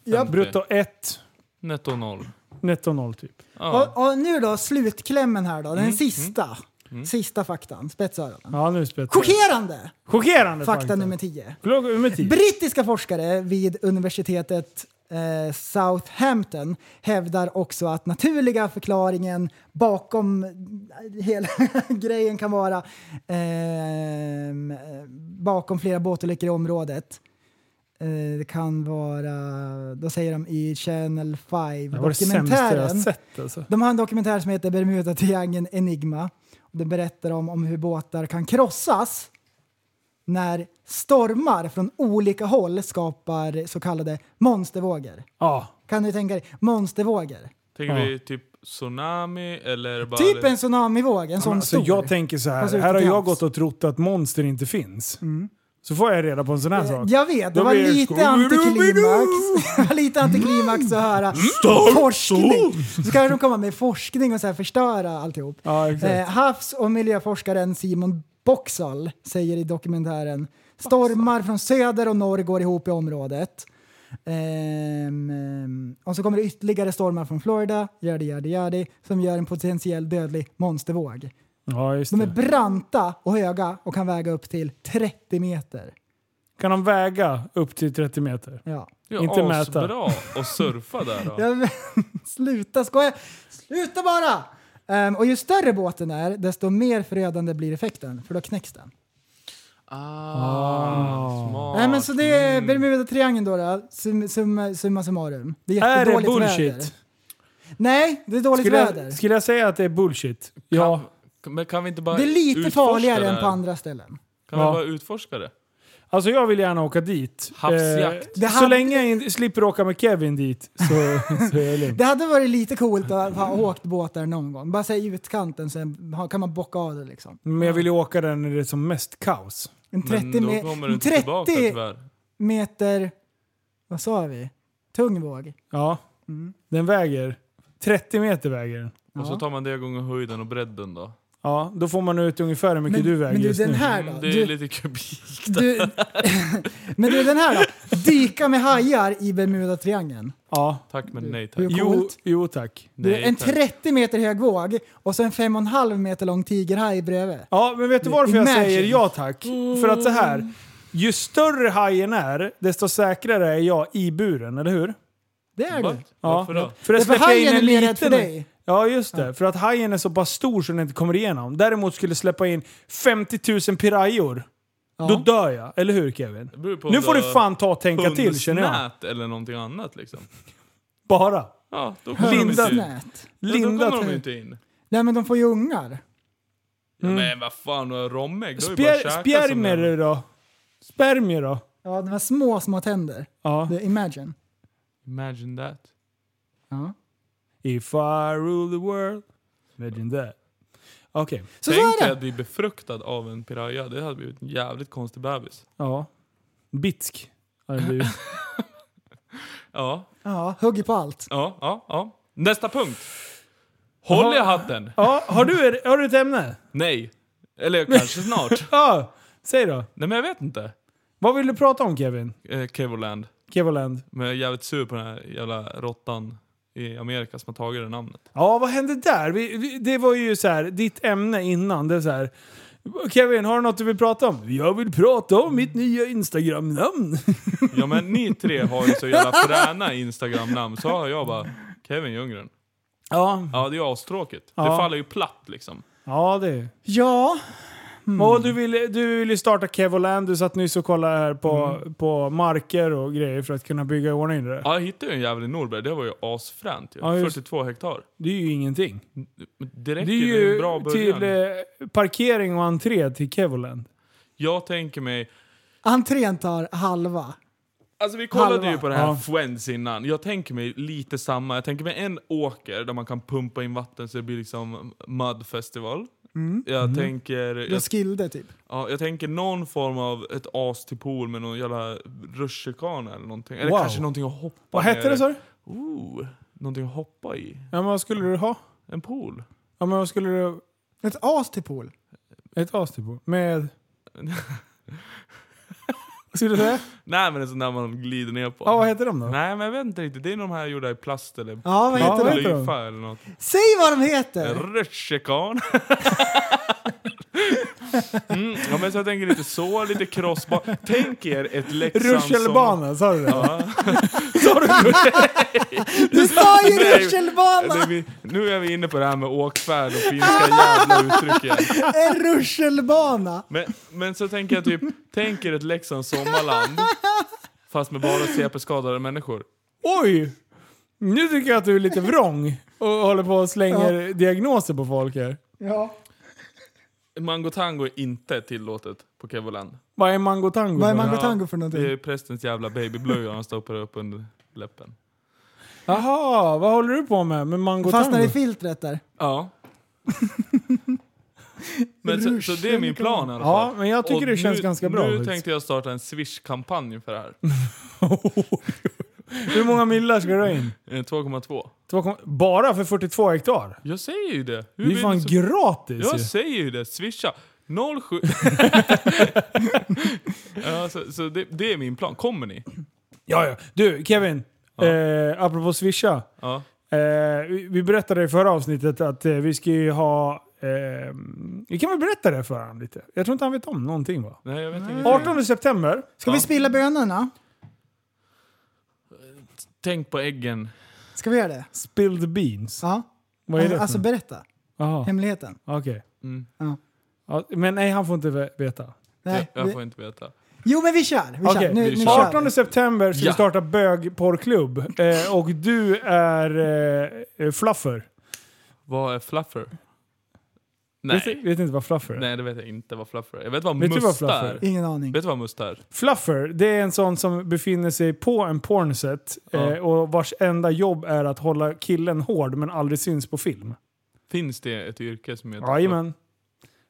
S4: Ja,
S5: 50.
S3: Brutto 1,
S5: Netto noll.
S3: netto 0 typ.
S5: Ja.
S4: Och, och nu då, slutklämmen här då, den
S3: Mm,
S4: sista. Sista faktan, spetsöronen.
S3: Ja, nu spetsar jag.
S4: Chockerande!
S3: Chockerande
S4: Fakta nummer 10.
S3: Klocka nummer 10.
S4: Brittiska forskare vid universitetet eh, Southampton hävdar också att naturliga förklaringen bakom eh, hela grejen kan vara ehm, eh, bakom flera båtolyckor i området. Eh, det kan vara, då säger de i Channel 5
S3: Det var det sämsta jag
S4: dokumentären.
S3: sett alltså.
S4: De har en dokumentär som heter Bermuda-triangeln Enigma. Och den berättar om, om hur båtar kan krossas när stormar från olika håll skapar så kallade monstervågor.
S3: Ja.
S4: Kan du tänka dig? Monstervågor.
S5: Tänker
S3: Ja.
S5: vi typ tsunami eller bara...
S4: Typ en tsunamivåg, en sån
S3: Alltså,
S4: stor. Mm.
S3: jag tänker så
S4: Fast
S3: här,
S4: ute
S3: här har
S4: till
S3: jag
S4: havs.
S3: gått och trott att monster inte finns. Så får jag reda på en sån här sak.
S4: jag vet, det
S3: Då
S4: var
S3: blir det
S4: lite antiklimax.
S3: Scooby-Doo!
S4: Det var lite antiklimax att höra
S3: Mm.
S4: forskning. Så kanske de kommer med forskning och så här förstöra alltihop.
S3: Ja, exakt.
S4: Eh, havs och miljöforskaren Simon Boxall säger i dokumentären Stormar från söder och norr går ihop i området. Ehm, ehm, och så kommer det ytterligare stormar från Florida, yadi yadi yadi, som gör en potentiell dödlig monstervåg.
S3: Ja, just
S4: De är
S3: det.
S4: branta och höga och kan väga upp till 30 meter.
S3: Kan de väga upp till 30 meter?
S4: Ja.
S5: Ja,
S3: Inte
S5: asbra
S3: mäta.
S5: och surfa där då.
S4: Jag, sluta skoja! Sluta bara! Ehm, och ju större båten är, desto mer förödande blir effekten, för då knäcks den.
S5: Ah, smart. Mm.
S4: Nej men så det är Bermuda-triangeln då, då sum, sum, summa summarum. Det är
S3: Är det
S4: jättedåligt väder.
S3: bullshit?
S4: Nej, det är dåligt
S3: Skulle
S4: väder.
S3: jag, skulle jag säga att det är bullshit? Ja.
S5: Men kan vi inte bara
S4: det är lite
S5: utforska
S4: farligare
S5: det här?
S4: än på andra ställen.
S5: Kan
S3: Ja.
S5: vi bara utforska det?
S3: Alltså jag vill gärna åka dit. Eh,
S5: Havsjakt.
S4: Det
S3: så
S4: hade-
S3: länge jag in, slipper åka med Kevin dit så, så är jag lugn.
S4: Det hade varit lite coolt att ha åkt båt där någon gång. Bara säg utkanten så har- kan man bocka av det liksom.
S3: Men jag vill ju åka där när det är som mest kaos.
S4: En 30,
S5: Men
S4: me-
S5: då kommer du
S4: en
S5: inte tillbaka
S4: 30
S5: tyvärr.
S4: meter... Vad sa vi? Tung våg.
S3: Ja.
S4: Mm.
S3: Den väger. 30 meter väger den.
S5: Och så tar man det gånger höjden och bredden då.
S3: Ja, då får man ut ungefär hur mycket
S4: Men,
S3: du väger
S4: men du,
S3: just
S4: den
S3: nu.
S4: här
S5: Mm,
S4: då?
S5: det är
S4: Du,
S5: lite kubik.
S4: du, men du, den här då? Dyka med hajar i Bermuda-triangeln.
S3: Ja.
S5: Tack men nej tack.
S4: Hur
S3: Jo,
S4: coolt?
S3: jo tack.
S4: Du,
S5: Nej,
S4: en
S5: tack.
S4: 30 meter hög våg och så en 5,5 meter lång tigerhaj bredvid.
S3: Ja, men vet du varför jag
S4: Imagine.
S3: säger ja tack? För att så
S5: Mm.
S3: här. Ju större hajen är, desto säkrare är jag i buren, eller hur?
S4: Det är
S5: Va?
S4: du.
S5: Varför då?
S3: För att
S4: Därför
S3: släppa in
S4: hajen
S3: en
S4: är mer
S3: liten...
S4: rädd för dig.
S3: Ja, just det. För att hajen är så pass stor så den inte kommer igenom. Däremot skulle släppa in 50 000 pirajor. Då dör jag, eller hur Kevin?
S5: Det beror på om
S3: Nu får
S5: det
S3: du fan ta och tänka till känner jag.
S5: Hundsnät eller någonting annat liksom.
S3: Bara.
S5: Ja, då kommer
S3: Linda-
S5: de inte in.
S4: Snät.
S5: Ja, då
S3: Linda
S5: kommer de
S3: tänk.
S5: inte in.
S4: Nej men de får ju ungar.
S5: Ja, Men vad fan, och romägg? Då är det bara att
S3: Mm. Spjär,
S5: käka
S3: spjärmer
S5: som en-
S3: du då? Spermier då?
S4: Ja, de har små, små tänder.
S3: Ja.
S4: Det- Imagine.
S5: Imagine that.
S4: Ja.
S3: If I rule the world. Imagine that. Okej.
S4: Så så
S5: Tänk
S4: är
S5: dig
S4: det.
S5: att bli befruktad av en piraya. Det hade blivit en jävligt konstig bebis.
S3: Ja. Bitsk. har det blivit.
S5: Ja,
S4: Ja, hugger på allt.
S5: ja, ja. ja. Nästa punkt. Håll i hatten!
S3: ja, har, du, har du ett ämne?
S5: Nej. Eller kanske snart.
S3: Ja, säg då.
S5: Nej men jag vet inte.
S3: Vad vill du prata om Kevin?
S5: Eh, Kevoland.
S3: Kevoland.
S5: Men jag är jävligt sur på den här jävla råttan i Amerika som har tagit det namnet.
S3: Ja, vad hände där? Vi, vi, det var ju så här, ditt ämne innan. Det är så här, Kevin, har du något du vill prata om? Jag vill prata om mitt nya Instagram-namn.
S5: Ja men ni tre har ju så jävla fräna Instagram-namn. Så har jag bara Kevin Ljunggren.
S3: Ja,
S5: Ja det är ju astråkigt. Det
S3: Ja.
S5: faller ju platt liksom.
S3: ja det är
S4: Ja, Mm.
S3: Och du ville du vill ju starta Kevoland. Du satt nyss och kollade här på,
S4: Mm.
S3: på marker och grejer för att kunna bygga i ordning det.
S5: Ja jag hittade ju en jävlig Norberg. Det var ju asfränt ju.
S3: Ja, just-
S5: 42 hektar.
S3: Det är ju ingenting.
S5: Men Det räcker
S3: Det är
S5: ju det är en
S3: ju
S5: bra början.
S3: till eh, parkering och entré till Kevoland.
S5: Jag tänker mig...
S4: entrén tar halva.
S5: Alltså vi kollade
S4: Halva.
S5: ju på det här
S3: Ja.
S5: Fuens innan. Jag tänker mig lite samma. Jag tänker mig en åker där man kan pumpa in vatten så det blir liksom mud festival.
S3: Mm.
S5: Jag tänker...
S4: Du har
S5: Jag,
S4: skilde typ.
S5: ja, jag tänker någon form av ett as till pool med någon jävla rutschkana eller någonting. Eller
S3: Wow.
S5: kanske någonting att hoppa
S3: Vad hette det sa du?
S5: Oh, någonting att hoppa i.
S3: Ja, men vad skulle du ha?
S5: En pool.
S3: Ja, men vad skulle du...
S4: Ett as till pool.
S3: Ett as till på. Med... vad skulle du säga?
S5: Nej men en sån där man glider ner på.
S3: Ja, vad heter de då?
S5: Nej men jag vet inte riktigt. Det är de här gjorda i plast eller...
S4: Ja, vad
S3: Ja,
S4: heter
S3: vad
S4: de?
S3: heter de?
S5: Lyfa eller något.
S4: Säg vad de heter!
S5: Rutschkana. mm, ja, men så jag tänker lite så, lite crossbana. Tänk er ett Leksand
S3: Rutschkelbana, sa du det?
S5: Ja.
S3: Sa du det?
S4: Du sa ju
S5: Nej.
S4: rutschkelbana!
S5: Eller vi- Nu är vi inne på det här med åkfärd och finska jävla uttryck igen.
S4: En rutschkelbana!
S5: Men, men så tänker jag typ, tänk er ett Leksands sommarland. Fast med bara CP-skadade människor.
S3: Oj! Nu tycker jag att du är lite vrång och håller på och slänger diagnoser på folk här.
S4: Ja.
S5: Mango tango är inte tillåtet på Kevoland.
S3: Vad är mango tango?
S4: Vad är
S3: för?
S4: mango tango för
S3: Eh,
S5: Det är
S4: någonting?
S5: prästens jävla babyblöja han stoppar upp under läppen.
S3: Jaha, vad håller du på med med mango
S4: Fastnar i
S3: tango?
S4: filtret där.
S5: Ja. men så, så det är min plan i alla fall.
S3: Ja, men jag tycker
S5: Och
S3: det känns
S5: nu,
S3: ganska bra.
S5: Nu
S3: faktiskt.
S5: tänkte jag starta en Swish-kampanj för det här.
S3: Hur många millar ska du ha in?
S5: Eh, 2,2.
S3: Två kom- Bara för 42 hektar?
S5: Jag säger ju det. Hur
S3: Det är
S5: vill
S3: fan
S5: du så-
S3: gratis
S5: Jag
S3: ju.
S5: säger ju det. Swisha. 07... ja, så så det, det är min plan. Kommer ni?
S3: Ja, ja. Du, Kevin. Eh, apropå swisha.
S5: Ja.
S3: Eh, vi vi berättade i förra avsnittet att eh, vi ska ju ha... Eh, vi kan väl berätta det för honom lite? Jag tror inte han vet om någonting va?
S5: Nej, jag vet inte.
S3: 18 september.
S4: Ska vi spilla bönorna?
S5: Tänk på äggen.
S4: Ska vi göra det?
S3: Spilled beans.
S4: Ja.
S3: Vad är det för
S4: Alltså
S3: något?
S4: berätta.
S3: Jaha,
S4: Hemligheten.
S3: okej.
S5: Mm.
S4: Ja.
S3: Ja, men nej, han får inte ve- veta.
S4: Nej,
S5: jag, jag får
S4: vi,
S5: inte veta.
S4: jo men vi kör! Vi
S3: Okej,
S4: kör. Nu,
S5: vi
S4: nu
S5: kör.
S4: kör
S3: 18
S4: vi.
S3: september ska
S5: Ja.
S3: vi starta bögporrklubb. Eh, och du är eh, eh, fluffer.
S5: Vad är fluffer?
S3: Vet,
S5: Nej.
S3: vet inte vad fluffer är?
S5: Nej, det vet jag inte vad fluffer är. Jag vet vad
S3: Vet du vad
S5: must
S3: fluffer
S5: är.
S3: är?
S4: Ingen aning.
S5: Vet du vad must är?
S3: Fluffer, det är en sån som befinner sig på en pornset
S5: Ja.
S3: eh, och vars enda jobb är att hålla killen hård men aldrig syns på film.
S5: Finns det ett yrke som heter
S3: Jajamän.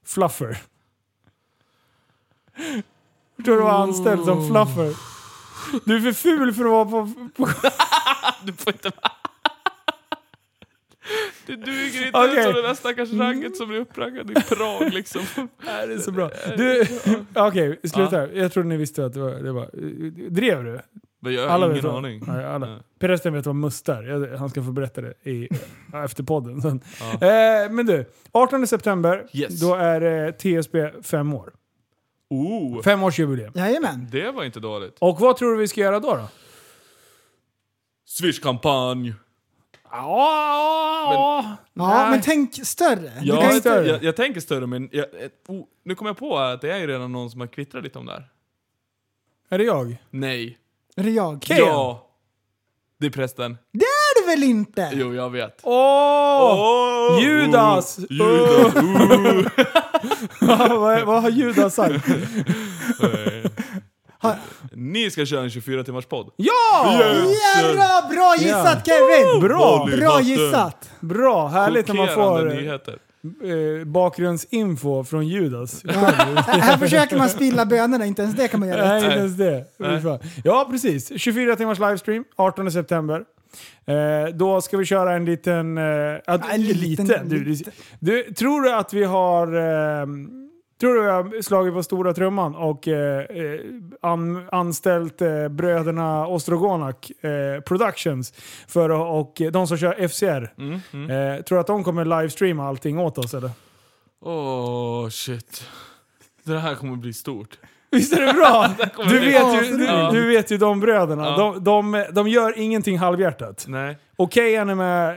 S3: Fluffer. Tror du var anställd
S5: Oh.
S3: som fluffer? Du är för ful för att vara på... på
S5: Du får inte vara... Det duger inte ens
S3: Okej.
S5: som den där stackars ragget som blir uppraggad i Prag liksom. Nej, det är
S3: så bra. Du, okej, sluta. Jag trodde ni visste att det var... Det var drev du?
S5: Men jag har
S3: Alla
S5: ingen
S3: vet vad-
S5: aning.
S3: Nej, alla.
S5: Nej.
S3: Prästen vet vad must är. Jag- Han ska få berätta det i, efter podden sen.
S5: Ja.
S3: Eh, men du, 18 september,
S5: Yes.
S3: då är eh, TSB fem år.
S5: Oh,
S3: Femårsjubileum.
S4: Jajamän.
S5: det var inte dåligt.
S3: Och vad tror du vi ska göra då? då?
S5: Swish-kampanj.
S3: Ja,
S4: Ja, men tänk större. Du kan
S5: Jag,
S4: ju inte...
S3: större.
S5: jag, jag tänker större men... Jag, eh, oh, nu kommer jag på att det är ju redan någon som har kvittrat lite om det här.
S3: Är det jag?
S5: Nej.
S4: Är det jag?
S5: Ja! Det är prästen.
S4: Det är det väl inte?
S5: Jo, jag vet.
S3: Åh!
S5: Åh!
S3: Judas!
S5: Oh, Judas!
S3: vad, vad har Judas sagt?
S5: Nej. Ni ska köra en 24 timmars podd.
S3: Ja!
S4: Jävla bra gissat
S3: Ja.
S4: Kevin!
S3: Bra!
S5: Vanlig
S4: Bra
S5: vatten.
S4: gissat!
S3: Bra! Härligt när man får
S5: Chockerande nyheter.
S3: eh, bakgrundsinfo från Judas.
S4: Här här försöker man spilla bönorna, inte ens det kan man göra.
S3: Nej, inte ens det.
S5: Nej.
S3: Fan. Ja, precis. 24 timmars livestream, 18 september. Eh, då ska vi köra en liten... Eh, ja,
S4: en liten-
S3: liten. Du, du, du, tror du att vi har... Eh, tror du vi har slagit på stora trumman och eh, eh, an, anställt eh, bröderna Ostrogonak eh, Productions för, att- och eh, de som kör FCR? Eh, tror du att de kommer livestreama allting åt oss eller?
S5: Åh, shit. Det här kommer bli stort.
S3: Visst är det bra? Du
S5: bli
S3: vet ju,
S5: asroligt.
S3: du,
S5: Ja.
S3: du vet ju de bröderna.
S5: Ja.
S3: De, de, de gör ingenting halvhjärtat.
S5: Nej.
S3: Okej är ni med...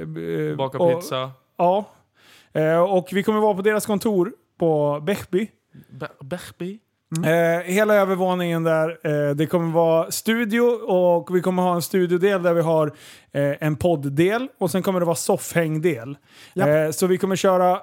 S3: Eh, b- eh,
S5: Baka
S3: och,
S5: pizza.
S3: Ja. Eh, och vi kommer vara på deras kontor på Bäckby.
S5: Be- Berbi?
S3: Eh, hela övervåningen där. Eh, det kommer vara studio och vi kommer ha en studiodel där vi har eh, en poddel och sen kommer det vara soffhängdel.
S4: Japp.
S3: Eh, så vi kommer köra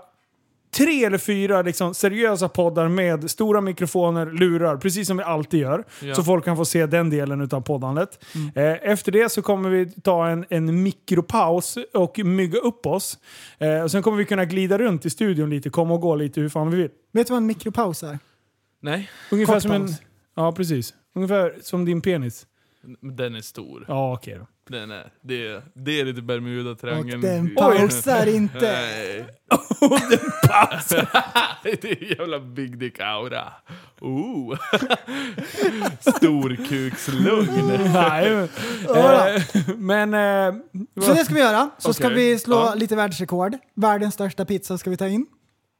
S3: tre eller fyra liksom, seriösa poddar med stora mikrofoner, lurar, precis som vi alltid gör.
S5: Ja.
S3: Så folk kan få se den delen av poddandet. Eh, efter det så kommer vi ta en, en mikropaus och mygga upp oss. Eh, och sen kommer vi kunna glida runt i studion lite, komma och gå lite hur fan vi vill.
S4: Vet du vad en mikropaus är?
S5: Nej,
S3: Ungefär
S4: Kort
S3: som en...
S4: paus.
S3: Ja, precis. Ungefär som din penis.
S5: men den är stor.
S3: Ja, okej då.
S5: Den är, det, är, det är lite
S4: Och
S5: Bermuda-triangeln.
S4: den pausar inte.
S5: Nej. det är jävla big dick aura. Ooh. Storkukslugn.
S3: Nej, men- eh, men... Eh,
S4: Så det ska vi göra. Så ska
S5: Okej.
S4: vi slå
S5: Ja.
S4: lite världsrekord. Världens största pizza ska vi ta in.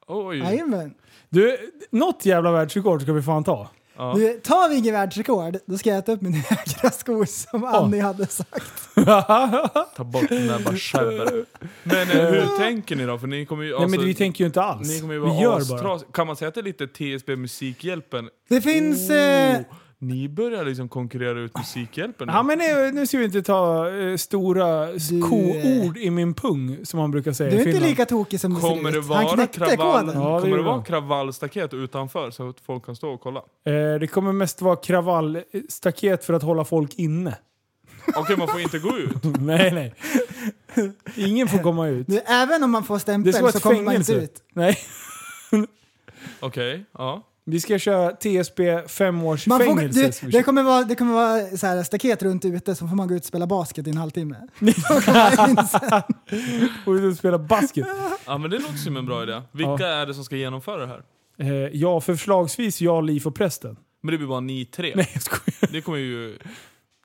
S5: Oj.
S4: Jajamän.
S3: du, något jävla världsrekord ska vi fan ta.
S4: Du, tar vi inget världsrekord, då ska jag äta upp mina högra skor som Annie hade sagt.
S5: Ta bort den där bara skärper. Men eh, hur tänker ni då? För ni kommer ju...
S3: Nej,
S5: alltså,
S3: men vi tänker ju inte alls.
S5: ni kommer ju
S3: vi
S5: vara
S3: gör bara.
S5: astras- Kan man säga att det är lite TSB Musikhjälpen?
S4: Det finns...
S3: Oh.
S4: Eh,
S5: Ni börjar liksom konkurrera ut Musikhjälpen nu.
S3: Ja, men nu, nu ska vi inte ta eh, stora s-
S4: Du, eh,
S3: koord i min pung, som man brukar säga
S4: du
S3: i
S4: är inte
S3: Finland.
S4: lika tokig som du ser
S5: Kommer det
S4: ut. Han
S5: vara
S4: knäckte
S5: kravall,
S3: Ja,
S4: koden.
S3: det
S5: kommer
S3: gjorde
S5: det vara
S3: han.
S5: kravallstaket utanför så att folk kan stå och kolla?
S3: Eh, det kommer mest vara kravallstaket för att hålla folk inne.
S5: Okej, man får inte gå ut.
S3: nej, nej. Ingen får komma ut.
S4: Du, även om man får
S3: Det
S4: stämpel
S3: ska vara
S4: så
S3: ett
S4: kommer man inte
S3: fängelse.
S4: ut.
S3: Nej.
S5: Okej, ja.
S3: Vi ska köra TSB fem års
S4: Man får,
S3: fängelse.
S4: du, det kommer vara, det kommer vara så här staket runt ute, så får man gå ut och spela basket i en halvtimme. Då kommer man in sen.
S3: Och vi ska spela basket.
S5: Ja men det låter som en bra idé. Vilka är det som ska genomföra det här?
S3: Eh, ja, förslagsvis jag, Liv och prästen.
S5: Men det blir bara ni tre.
S3: Nej, jag skojar.
S5: Det kommer ju...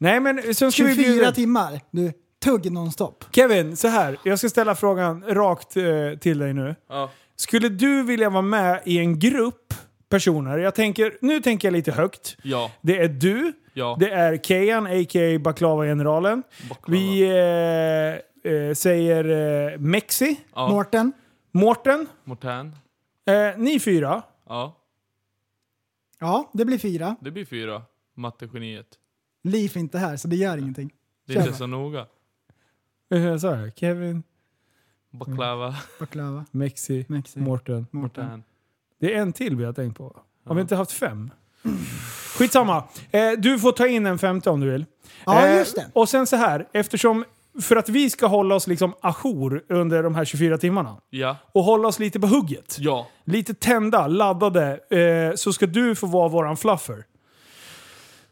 S3: Nej, men sen ska vi
S4: 24
S3: bjuda...
S4: timmar. Du, tugg nonstop.
S3: Kevin, så här. Jag ska ställa frågan rakt eh, till dig nu.
S5: Ja.
S3: Skulle du vilja vara med i en grupp personer? Jag tänker, nu tänker jag lite högt.
S5: Ja.
S3: Det är du,
S5: Ja.
S3: det är Kejan, a.k.a. Baklava-generalen.
S5: Baklava.
S3: Vi eh, eh, säger eh, Mexi,
S5: Ja.
S4: Mårten,
S3: Mårten,
S5: Mortän.
S3: eh, ni fyra.
S5: Ja.
S4: ja det blir fyra.
S5: Det blir fyra. Mattegeniet.
S4: Liv inte här, så det gör ingenting.
S5: Det är inte
S4: Tjena.
S5: så noga.
S3: Eh, så här, Kevin, Mm.
S5: Baklava.
S4: Baklava,
S3: Mexi,
S4: Mexi,
S3: Mårten.
S4: Mårten.
S5: Mortän.
S3: Det är en till vi har tänkt på. Har vi inte haft fem? Skitsamma. Eh, du får ta in en femte om du vill.
S4: Ja,
S3: Eh,
S4: just det.
S3: Och sen så här, eftersom... För att vi ska hålla oss liksom ajour under de här 24 timmarna.
S5: Ja.
S3: Och hålla oss lite på hugget.
S5: Ja.
S3: Lite tända, laddade. Eh, så ska du få vara våran fluffer.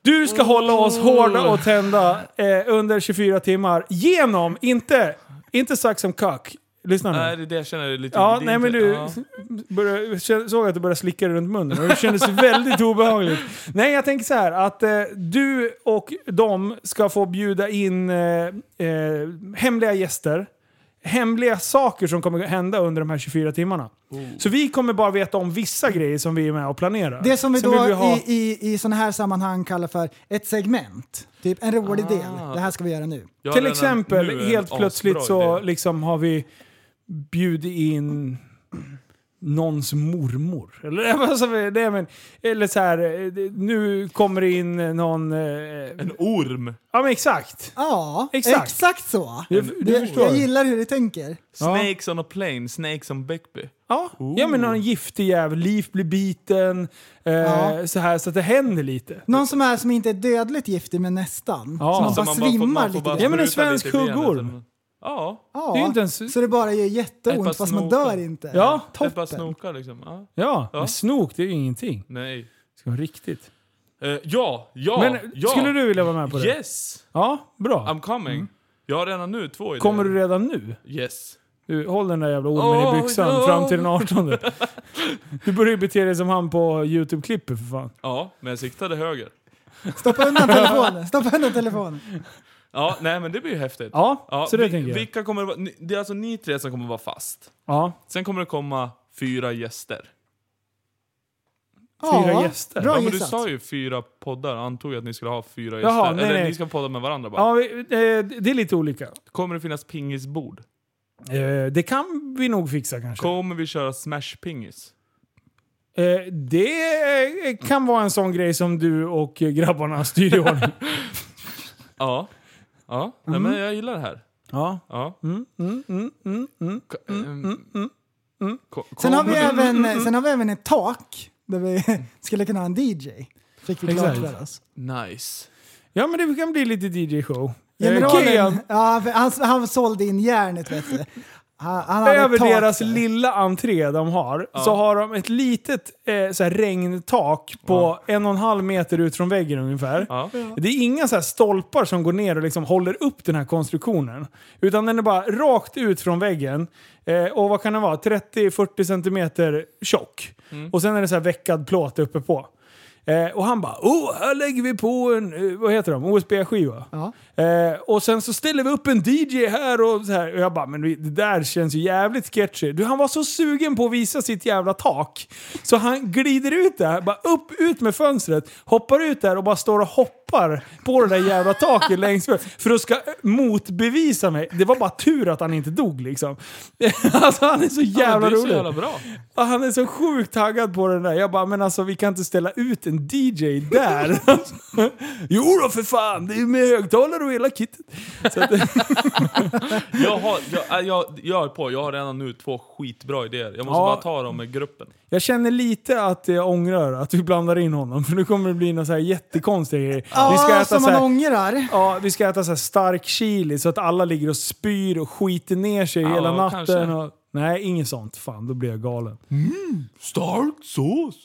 S3: Du ska hålla oss hårda och tända eh, under 24 timmar. Genom, inte, inte sax som kök. Lyssna nu.
S5: Nej, det är det jag känner är lite...
S3: Ja,
S5: det
S3: nej
S5: är
S3: men
S5: inte-
S3: du
S5: Ja.
S3: började, kände- såg att du började slicka dig runt munnen och det kändes väldigt obehagligt. Nej, jag tänker så här att eh, du och de ska få bjuda in eh, eh, hemliga gäster. Hemliga saker som kommer hända under de här 24 timmarna.
S5: Oh.
S3: Så vi kommer bara veta om vissa grejer som vi är med och planerar.
S4: Det som vi
S3: Sen
S4: då
S3: vill ha-
S4: i, i, i sådana här sammanhang kallar för ett segment. Typ en rolig del. Det här ska vi göra nu.
S5: Jag har
S3: Till
S5: redan nu
S3: exempel,
S5: en
S3: helt plötsligt
S5: asbra
S3: så
S5: idé.
S3: liksom har vi bjudit in... någons mormor. Eller, alltså, det, är men, eller så här, eh, det- nu kommer det in någon... eh,
S5: En orm.
S3: Ja men exakt.
S4: Ja,
S3: Exakt.
S4: exakt, så.
S3: Du, du
S4: Jag,
S3: förstår?
S4: jag gillar hur du tänker.
S5: Snakes on a plane, snakes on Beckby.
S3: Ja, ja men någon giftig jävel. Liv blir biten. Eh,
S4: Ja.
S3: Så här så att det händer lite.
S4: Någon som är som inte är dödligt giftig men nästan.
S3: Ja.
S4: Som man
S3: Så
S4: bara svimmar lite grann.
S3: Ja, men en
S5: spruta
S3: svensk
S5: lite i benet.
S3: huggorm.
S5: Ja,
S4: Ja,
S3: Det är ju inte ens-
S4: Så det bara gör
S5: Ett par
S4: jätteont fast man
S5: snokar.
S4: dör inte.
S3: Ja,
S5: det bara
S4: Toppen.
S5: snokar liksom. Ja.
S3: Ja,
S5: Ja.
S3: men snok det är ju ingenting.
S5: Nej.
S3: Det ska vara riktigt.
S5: Eh, ja, ja,
S3: men
S5: ja.
S3: skulle du vilja vara med på det?
S5: Yes!
S3: Ja, bra.
S5: I'm coming. Jag har redan nu två idéer.
S3: Kommer du redan nu?
S5: Yes.
S3: Du, håll den där jävla ormen
S5: Oh,
S3: i byxan
S5: no.
S3: fram till den 18. Du börjar ju bete dig som han på YouTube-klippet för fan.
S5: Ja, men jag siktade höger.
S4: Stoppa undan telefonen, stoppa undan telefonen.
S5: Ja, nej men det blir ju häftigt.
S3: Ja,
S5: Ja,
S3: så det
S5: vi,
S3: tänker jag.
S5: Vilka kommer det vara? ni- Det är alltså ni tre som kommer vara fast.
S3: ja.
S5: Sen kommer det komma fyra gäster.
S3: Fyra
S4: Ja,
S3: gäster.
S4: Bra
S5: Ja, men du
S4: gissat.
S5: sa ju fyra poddar, antog jag att ni skulle ha fyra
S3: Jaha,
S5: gäster.
S3: nej,
S5: Eller
S3: nej.
S5: ni ska podda med varandra bara.
S3: ja vi, eh, det är lite olika.
S5: Kommer det finnas pingisbord?
S3: Eh, det kan vi nog fixa kanske.
S5: Kommer vi köra smashpingis?
S3: Eh, det kan vara en sån grej som du och grabbarna styr i ordning.
S5: Ja. Ja, nej, men jag gillar det här.
S3: Mm. ja. Mm,
S5: Ja. Ko- ehm,
S3: mm.
S5: ko-
S4: Sen har, vi
S5: kommer-
S4: även, sen har vi även ett tak där vi skulle kunna ha en DJ. Fick vi klart
S3: Exakt.
S4: för oss.
S5: Nice.
S3: ja, men det kan bli lite DJ-show. Eh, Kean
S4: Generalen, ja, för han, han sålde in järnet vet du. Han, han hade
S3: över
S4: ett tak
S3: deras
S4: där.
S3: lilla entré de har, så har de ett litet eh, så här regntak på en och en halv meter ut från väggen ungefär.
S5: Ja.
S3: Det är inga så här stolpar som går ner och liksom håller upp den här konstruktionen. Utan den är bara rakt ut från väggen. Eh, och vad kan den vara? 30-40 centimeter tjock.
S5: Mm.
S3: Och sen är det så här veckad plåt uppe på. Eh, och han bara oh, här lägger vi på en, eh, vad heter de, OSB-skiva.
S4: Ja.
S3: Eh, och sen så ställer vi upp en DJ här och så här. Och jag bara, men det där känns ju jävligt sketchy. Du, han var så sugen på att visa sitt jävla tak. Så han glider ut där, bara upp, ut med fönstret, hoppar ut där och bara står och hoppar på det där jävla taket längs med, För att ska motbevisa mig. Det var bara tur att han inte dog liksom. alltså han är så
S5: Ja,
S3: jävla
S5: men det är så
S3: rolig.
S5: jävla bra.
S3: Ja, Han är så sjukt taggad på den där. Jag bara, men alltså vi kan inte ställa ut en DJ där. jo då för fan, det är ju med högtalare och hela kittet. Så att,
S5: Jag, har, jag, äh, jag, jag är på, jag har redan nu två skitbra idéer. Jag måste
S3: Ja.
S5: bara ta dem med gruppen.
S3: jag känner lite att jag ångrar att vi blandar in honom, för nu kommer det bli någon så här jättekonstig grej.
S4: Ja,
S3: vi ska äta
S4: som
S3: så
S4: man
S3: här,
S4: ångrar.
S3: Ja, vi ska äta så här stark chili så att alla ligger och spyr och skiter ner sig
S5: Ja,
S3: hela natten.
S5: kanske.
S3: Och, nej, inget sånt. Fan, då blir jag galen.
S5: Stark sås!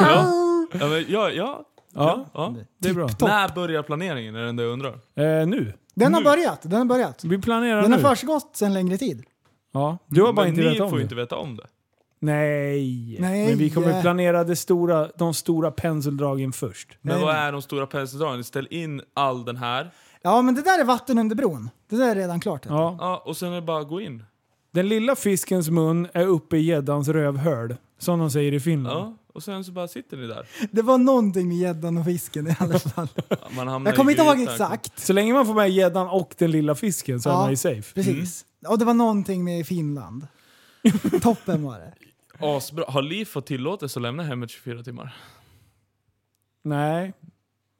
S5: ja, ja, men, ja, ja,
S3: Ja,
S5: ja.
S3: det är bra.
S5: När börjar planeringen? Är det det jag undrar?
S3: Eh, nu.
S4: Den har börjat, den har börjat.
S3: Vi planerar
S4: Den har
S3: nu.
S4: försiggått sedan längre tid.
S3: Ja, du har bara
S5: Men
S3: inte
S5: ni
S3: vetat
S5: får
S3: om
S5: ju
S3: det.
S5: inte veta om det.
S3: Nej.
S4: Nej.
S3: men vi kommer planera det stora, de stora penseldragen först.
S5: Men
S4: Nej.
S5: vad är de stora penseldragen? Ställ in all den här.
S4: Ja, men det där är vatten under bron. Det där är redan klart. Ja.
S3: Ja.
S5: Ja, och sen är det bara att gå in.
S3: Den lilla fiskens mun är uppe i gäddans rövhöl, som de säger i Finland.
S5: Ja, och sen så bara sitter ni där.
S4: Det var någonting med gäddan och fisken i alla fall.
S5: Man hamnar
S4: Jag kommer
S5: i
S4: inte ihåg
S5: grytan.
S4: exakt.
S3: Så länge man får med gäddan och den lilla fisken så är
S4: Ja.
S3: man ju safe. Mm.
S4: Precis. Och det var någonting med Finland. Toppen var det.
S5: Asbra. Har Liv fått tillåtelse att lämna hemmet 24 timmar?
S3: Nej.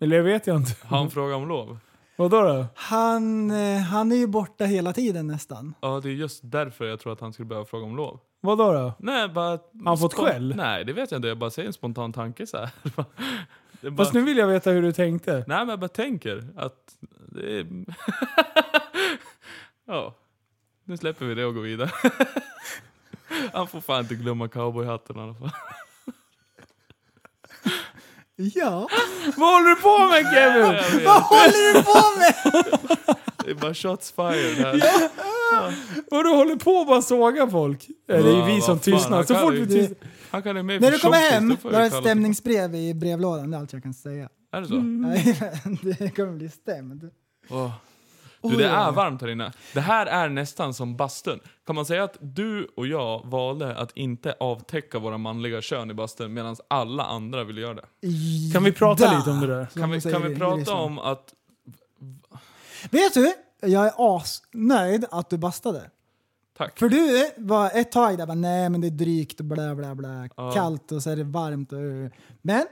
S3: Eller det vet jag inte.
S5: Har han frågat om lov?
S3: Vadå då?
S4: Han, eh, han är ju borta hela tiden nästan.
S5: Ja, det är just därför jag tror att han skulle behöva fråga om lov.
S3: Vadå då?
S5: Nej, bara...
S3: han fått
S5: spon-
S3: skäll?
S5: Nej, det vet jag inte. Jag bara säger en spontan tanke så här. Det är bara,
S3: Fast nu vill jag veta hur du tänkte.
S5: Nej, men jag bara tänker att... Det är... ja. Nu släpper vi det och går vidare. han får fan inte glömma cowboyhatten i alla fall.
S4: Ja.
S3: Vad håller du på med Kevin?
S5: Jag vet.
S4: Vad håller du på med?
S5: Det är bara shots fired här.
S3: Vad du håller på och bara såga folk? Eh, Det är ju
S5: Ja,
S3: vi
S5: vad
S3: som
S5: fan,
S3: tystnar.
S5: han
S3: Så
S5: kan
S3: fort
S5: ju-
S3: vi tystnar.
S5: Han kan ju med
S4: När
S5: för
S4: du kommer
S5: tjockis,
S4: hem,
S5: då
S4: då
S5: får
S4: har
S5: jag
S4: du ett
S5: kalla-
S4: stämningsbrev i brevlådan. Det är allt jag kan säga.
S5: Är det så?
S3: Mm.
S4: Nej, men det kommer bli stämd.
S5: Åh. Du, det
S4: Oj,
S5: är
S4: oj.
S5: varmt här inne. Det här är nästan som bastun. Kan man säga att du och jag valde att inte avtäcka våra manliga kön i bastun medan alla andra ville göra det?
S3: Kan vi prata
S4: Där.
S3: lite om det där?
S4: Så
S5: Kan
S4: man
S5: vi,
S4: säger
S5: kan vi
S4: det, det är
S5: prata
S4: liksom-
S5: om att...
S4: Vet du? jag är asnöjd att du bastade.
S5: Tack.
S4: För du eh, var ett tag där bara, nej men det är drygt och bla bla bla,
S5: Ja.
S4: kallt och så är det varmt. Och, men,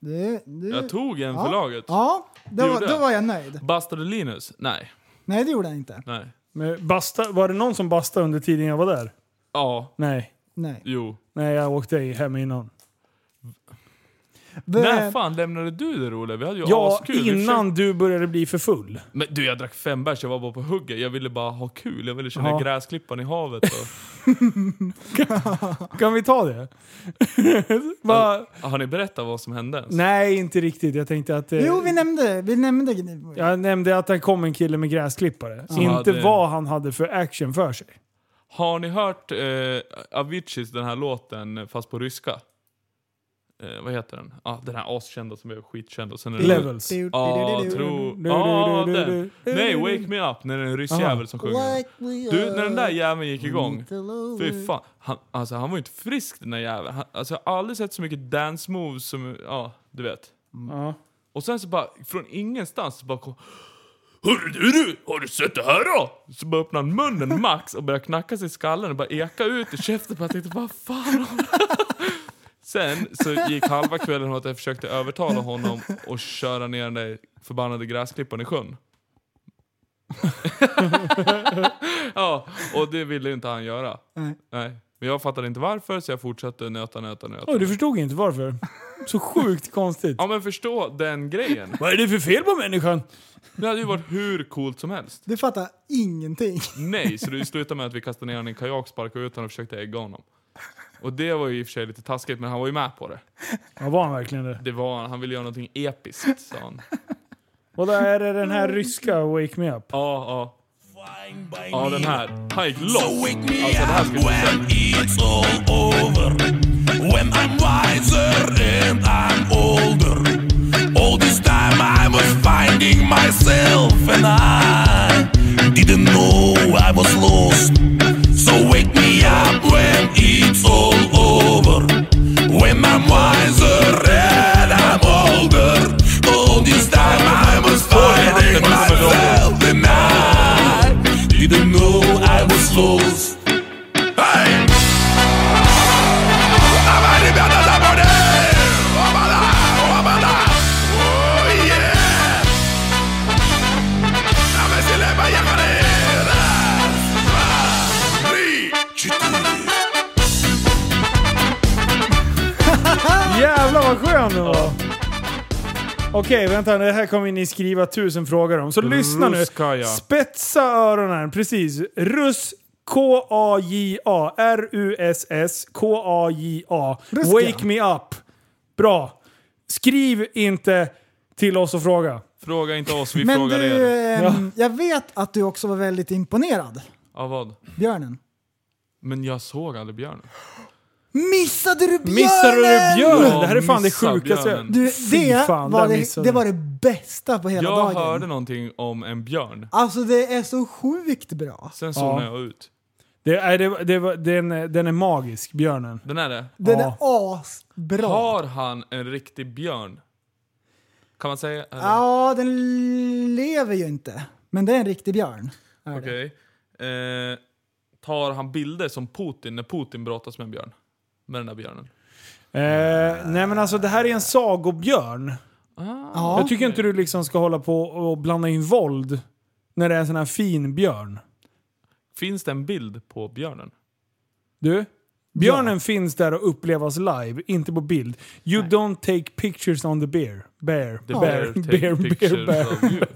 S4: du, du,
S5: Jag tog en
S4: ja.
S5: för laget.
S4: Ja, då,
S5: gjorde
S4: var- då
S5: jag.
S4: var jag nöjd.
S5: Bastade Linus? Nej.
S4: Nej det gjorde jag inte.
S5: Nej.
S3: Men basta, var det någon som bastade under tiden jag var där?
S5: Ja.
S3: Nej.
S4: Nej.
S5: Jo.
S3: Nej, jag åkte ej hem innan.
S5: När
S4: Eh,
S5: fan lämnade du det Olle? Vi hade ju
S3: Ja,
S5: askul. Vi
S3: innan du började bli för full.
S5: Men du, jag drack fem bärs, jag var bara på hugget. Jag ville bara ha kul. Jag ville känna
S3: Ja.
S5: gräsklippan i havet. Och...
S3: Kan vi ta det? Va?
S5: Har ni berättat vad som hände ens?
S3: Nej, inte riktigt. Jag tänkte att... eh,
S4: Jo vi nämnde, vi nämnde Gnivbo.
S3: Jag nämnde att det kom en kille med gräsklippare.
S5: Som
S3: Inte
S5: hade-
S3: vad han hade för action för sig.
S5: Har ni hört eh, Aviciis den här låten eh, fast på ryska? Eh, vad heter den? Ah, den här askända som blev skitkänd. Och sen är det-
S3: Levels.
S5: Ja, tro...
S3: du, du,
S5: Ja,
S3: du, du,
S5: den.
S3: du,
S5: Nej,
S3: du, du.
S5: Wake Me Up när det är en
S3: Aha.
S5: ryssjävel som sjunger. Du, när den där jäveln gick igång.
S4: Mm.
S5: Fy fan. Han, alltså, han var ju inte frisk den där jäveln. Han, alltså, jag har aldrig sett så mycket dance moves som, ja, du vet.
S3: Ja.
S5: Och sen så bara, från ingenstans så bara kom... Hörru du, du, har du sett det här då? Så bara öppnade han munnen max och började knacka sig i skallen och bara eka ut i käften. Jag tänkte, vad fan Sen så gick halva kvällen åt att jag försökte övertala honom att köra ner den där förbannade gräsklippan i sjön. ja, och det ville inte han göra.
S4: Nej.
S5: Nej. Men jag fattade inte varför så jag fortsatte nöta, nöta, nöta.
S3: Oj, du förstod inte varför. Så sjukt konstigt.
S5: Ja men förstå den grejen.
S3: Vad är det för fel på människan?
S5: Det hade ju varit hur coolt som helst.
S4: Du fattar ingenting.
S5: Nej, så det slutade med att vi kastade ner honom i en kajak, sparkade ut honom och försökte ägga honom. Och det var ju i och för sig lite taskigt, men han var ju med på det.
S3: Ja, var han verkligen det?
S5: Det var han, han ville göra någonting episkt, sa han.
S3: Och där är det den här ryska Wake Me Up.
S5: Ja, ja. Ja, den här. Han gick loss. Alltså, det här skulle du se. Hatten kommer igång.
S3: Jävlar vad skön den var! Okej, vänta. Det här kommer ni skriva tusen frågor om. Så lyssna nu.
S5: Ruskaja.
S3: Spetsa öronen. Precis. Russ... K-A-J-A. R-U-S-S. K-A-J-A.
S4: Ruska.
S3: Wake me up. Bra. Skriv inte till oss och fråga.
S5: Fråga inte oss, vi
S4: Men
S5: frågar
S4: du,
S5: er.
S4: ehm,
S3: Ja.
S4: jag vet att du också var väldigt imponerad,
S5: Ja, vad?
S4: björnen.
S5: Men jag såg aldrig björnen.
S4: Missade du björnen?
S3: Missade du björnen?
S5: Ja,
S3: det här är fan det
S5: missa
S3: sjukaste.
S5: björnen.
S4: Du,
S3: Fy
S4: det,
S3: fan,
S4: var
S3: där
S4: det,
S3: missade
S4: det
S3: du.
S4: var det bästa på hela
S5: Jag
S4: dagen.
S5: hörde någonting om en björn.
S4: Alltså det är så sjukt bra. Alltså,
S5: Sen zonade
S3: Ja.
S5: jag ut.
S3: Det, nej, det, var- det, var- den, är- den är magisk, björnen.
S5: Den är det.
S4: Den
S3: Ja.
S4: är asbra.
S5: Har han en riktig björn? Kan man säga? eller?
S4: Ja, den lever ju inte. Men det är en riktig björn. är det.
S5: Okej. Eh, tar han bilder som Putin när Putin brottas med en björn? Med den där björnen?
S3: Eh, nej men alltså det här är en sagobjörn.
S5: Ah.
S4: Ja.
S3: Jag tycker inte du liksom ska hålla på och blanda in våld när det är en sån här fin björn.
S5: Finns det en bild på björnen?
S3: Du? Björnen finns där och upplevas live, inte på bild. You don't take pictures on the bear. Bear.
S5: The
S3: bear.
S5: bear, take
S3: bear,
S5: pictures
S3: bear, bear.
S5: of you.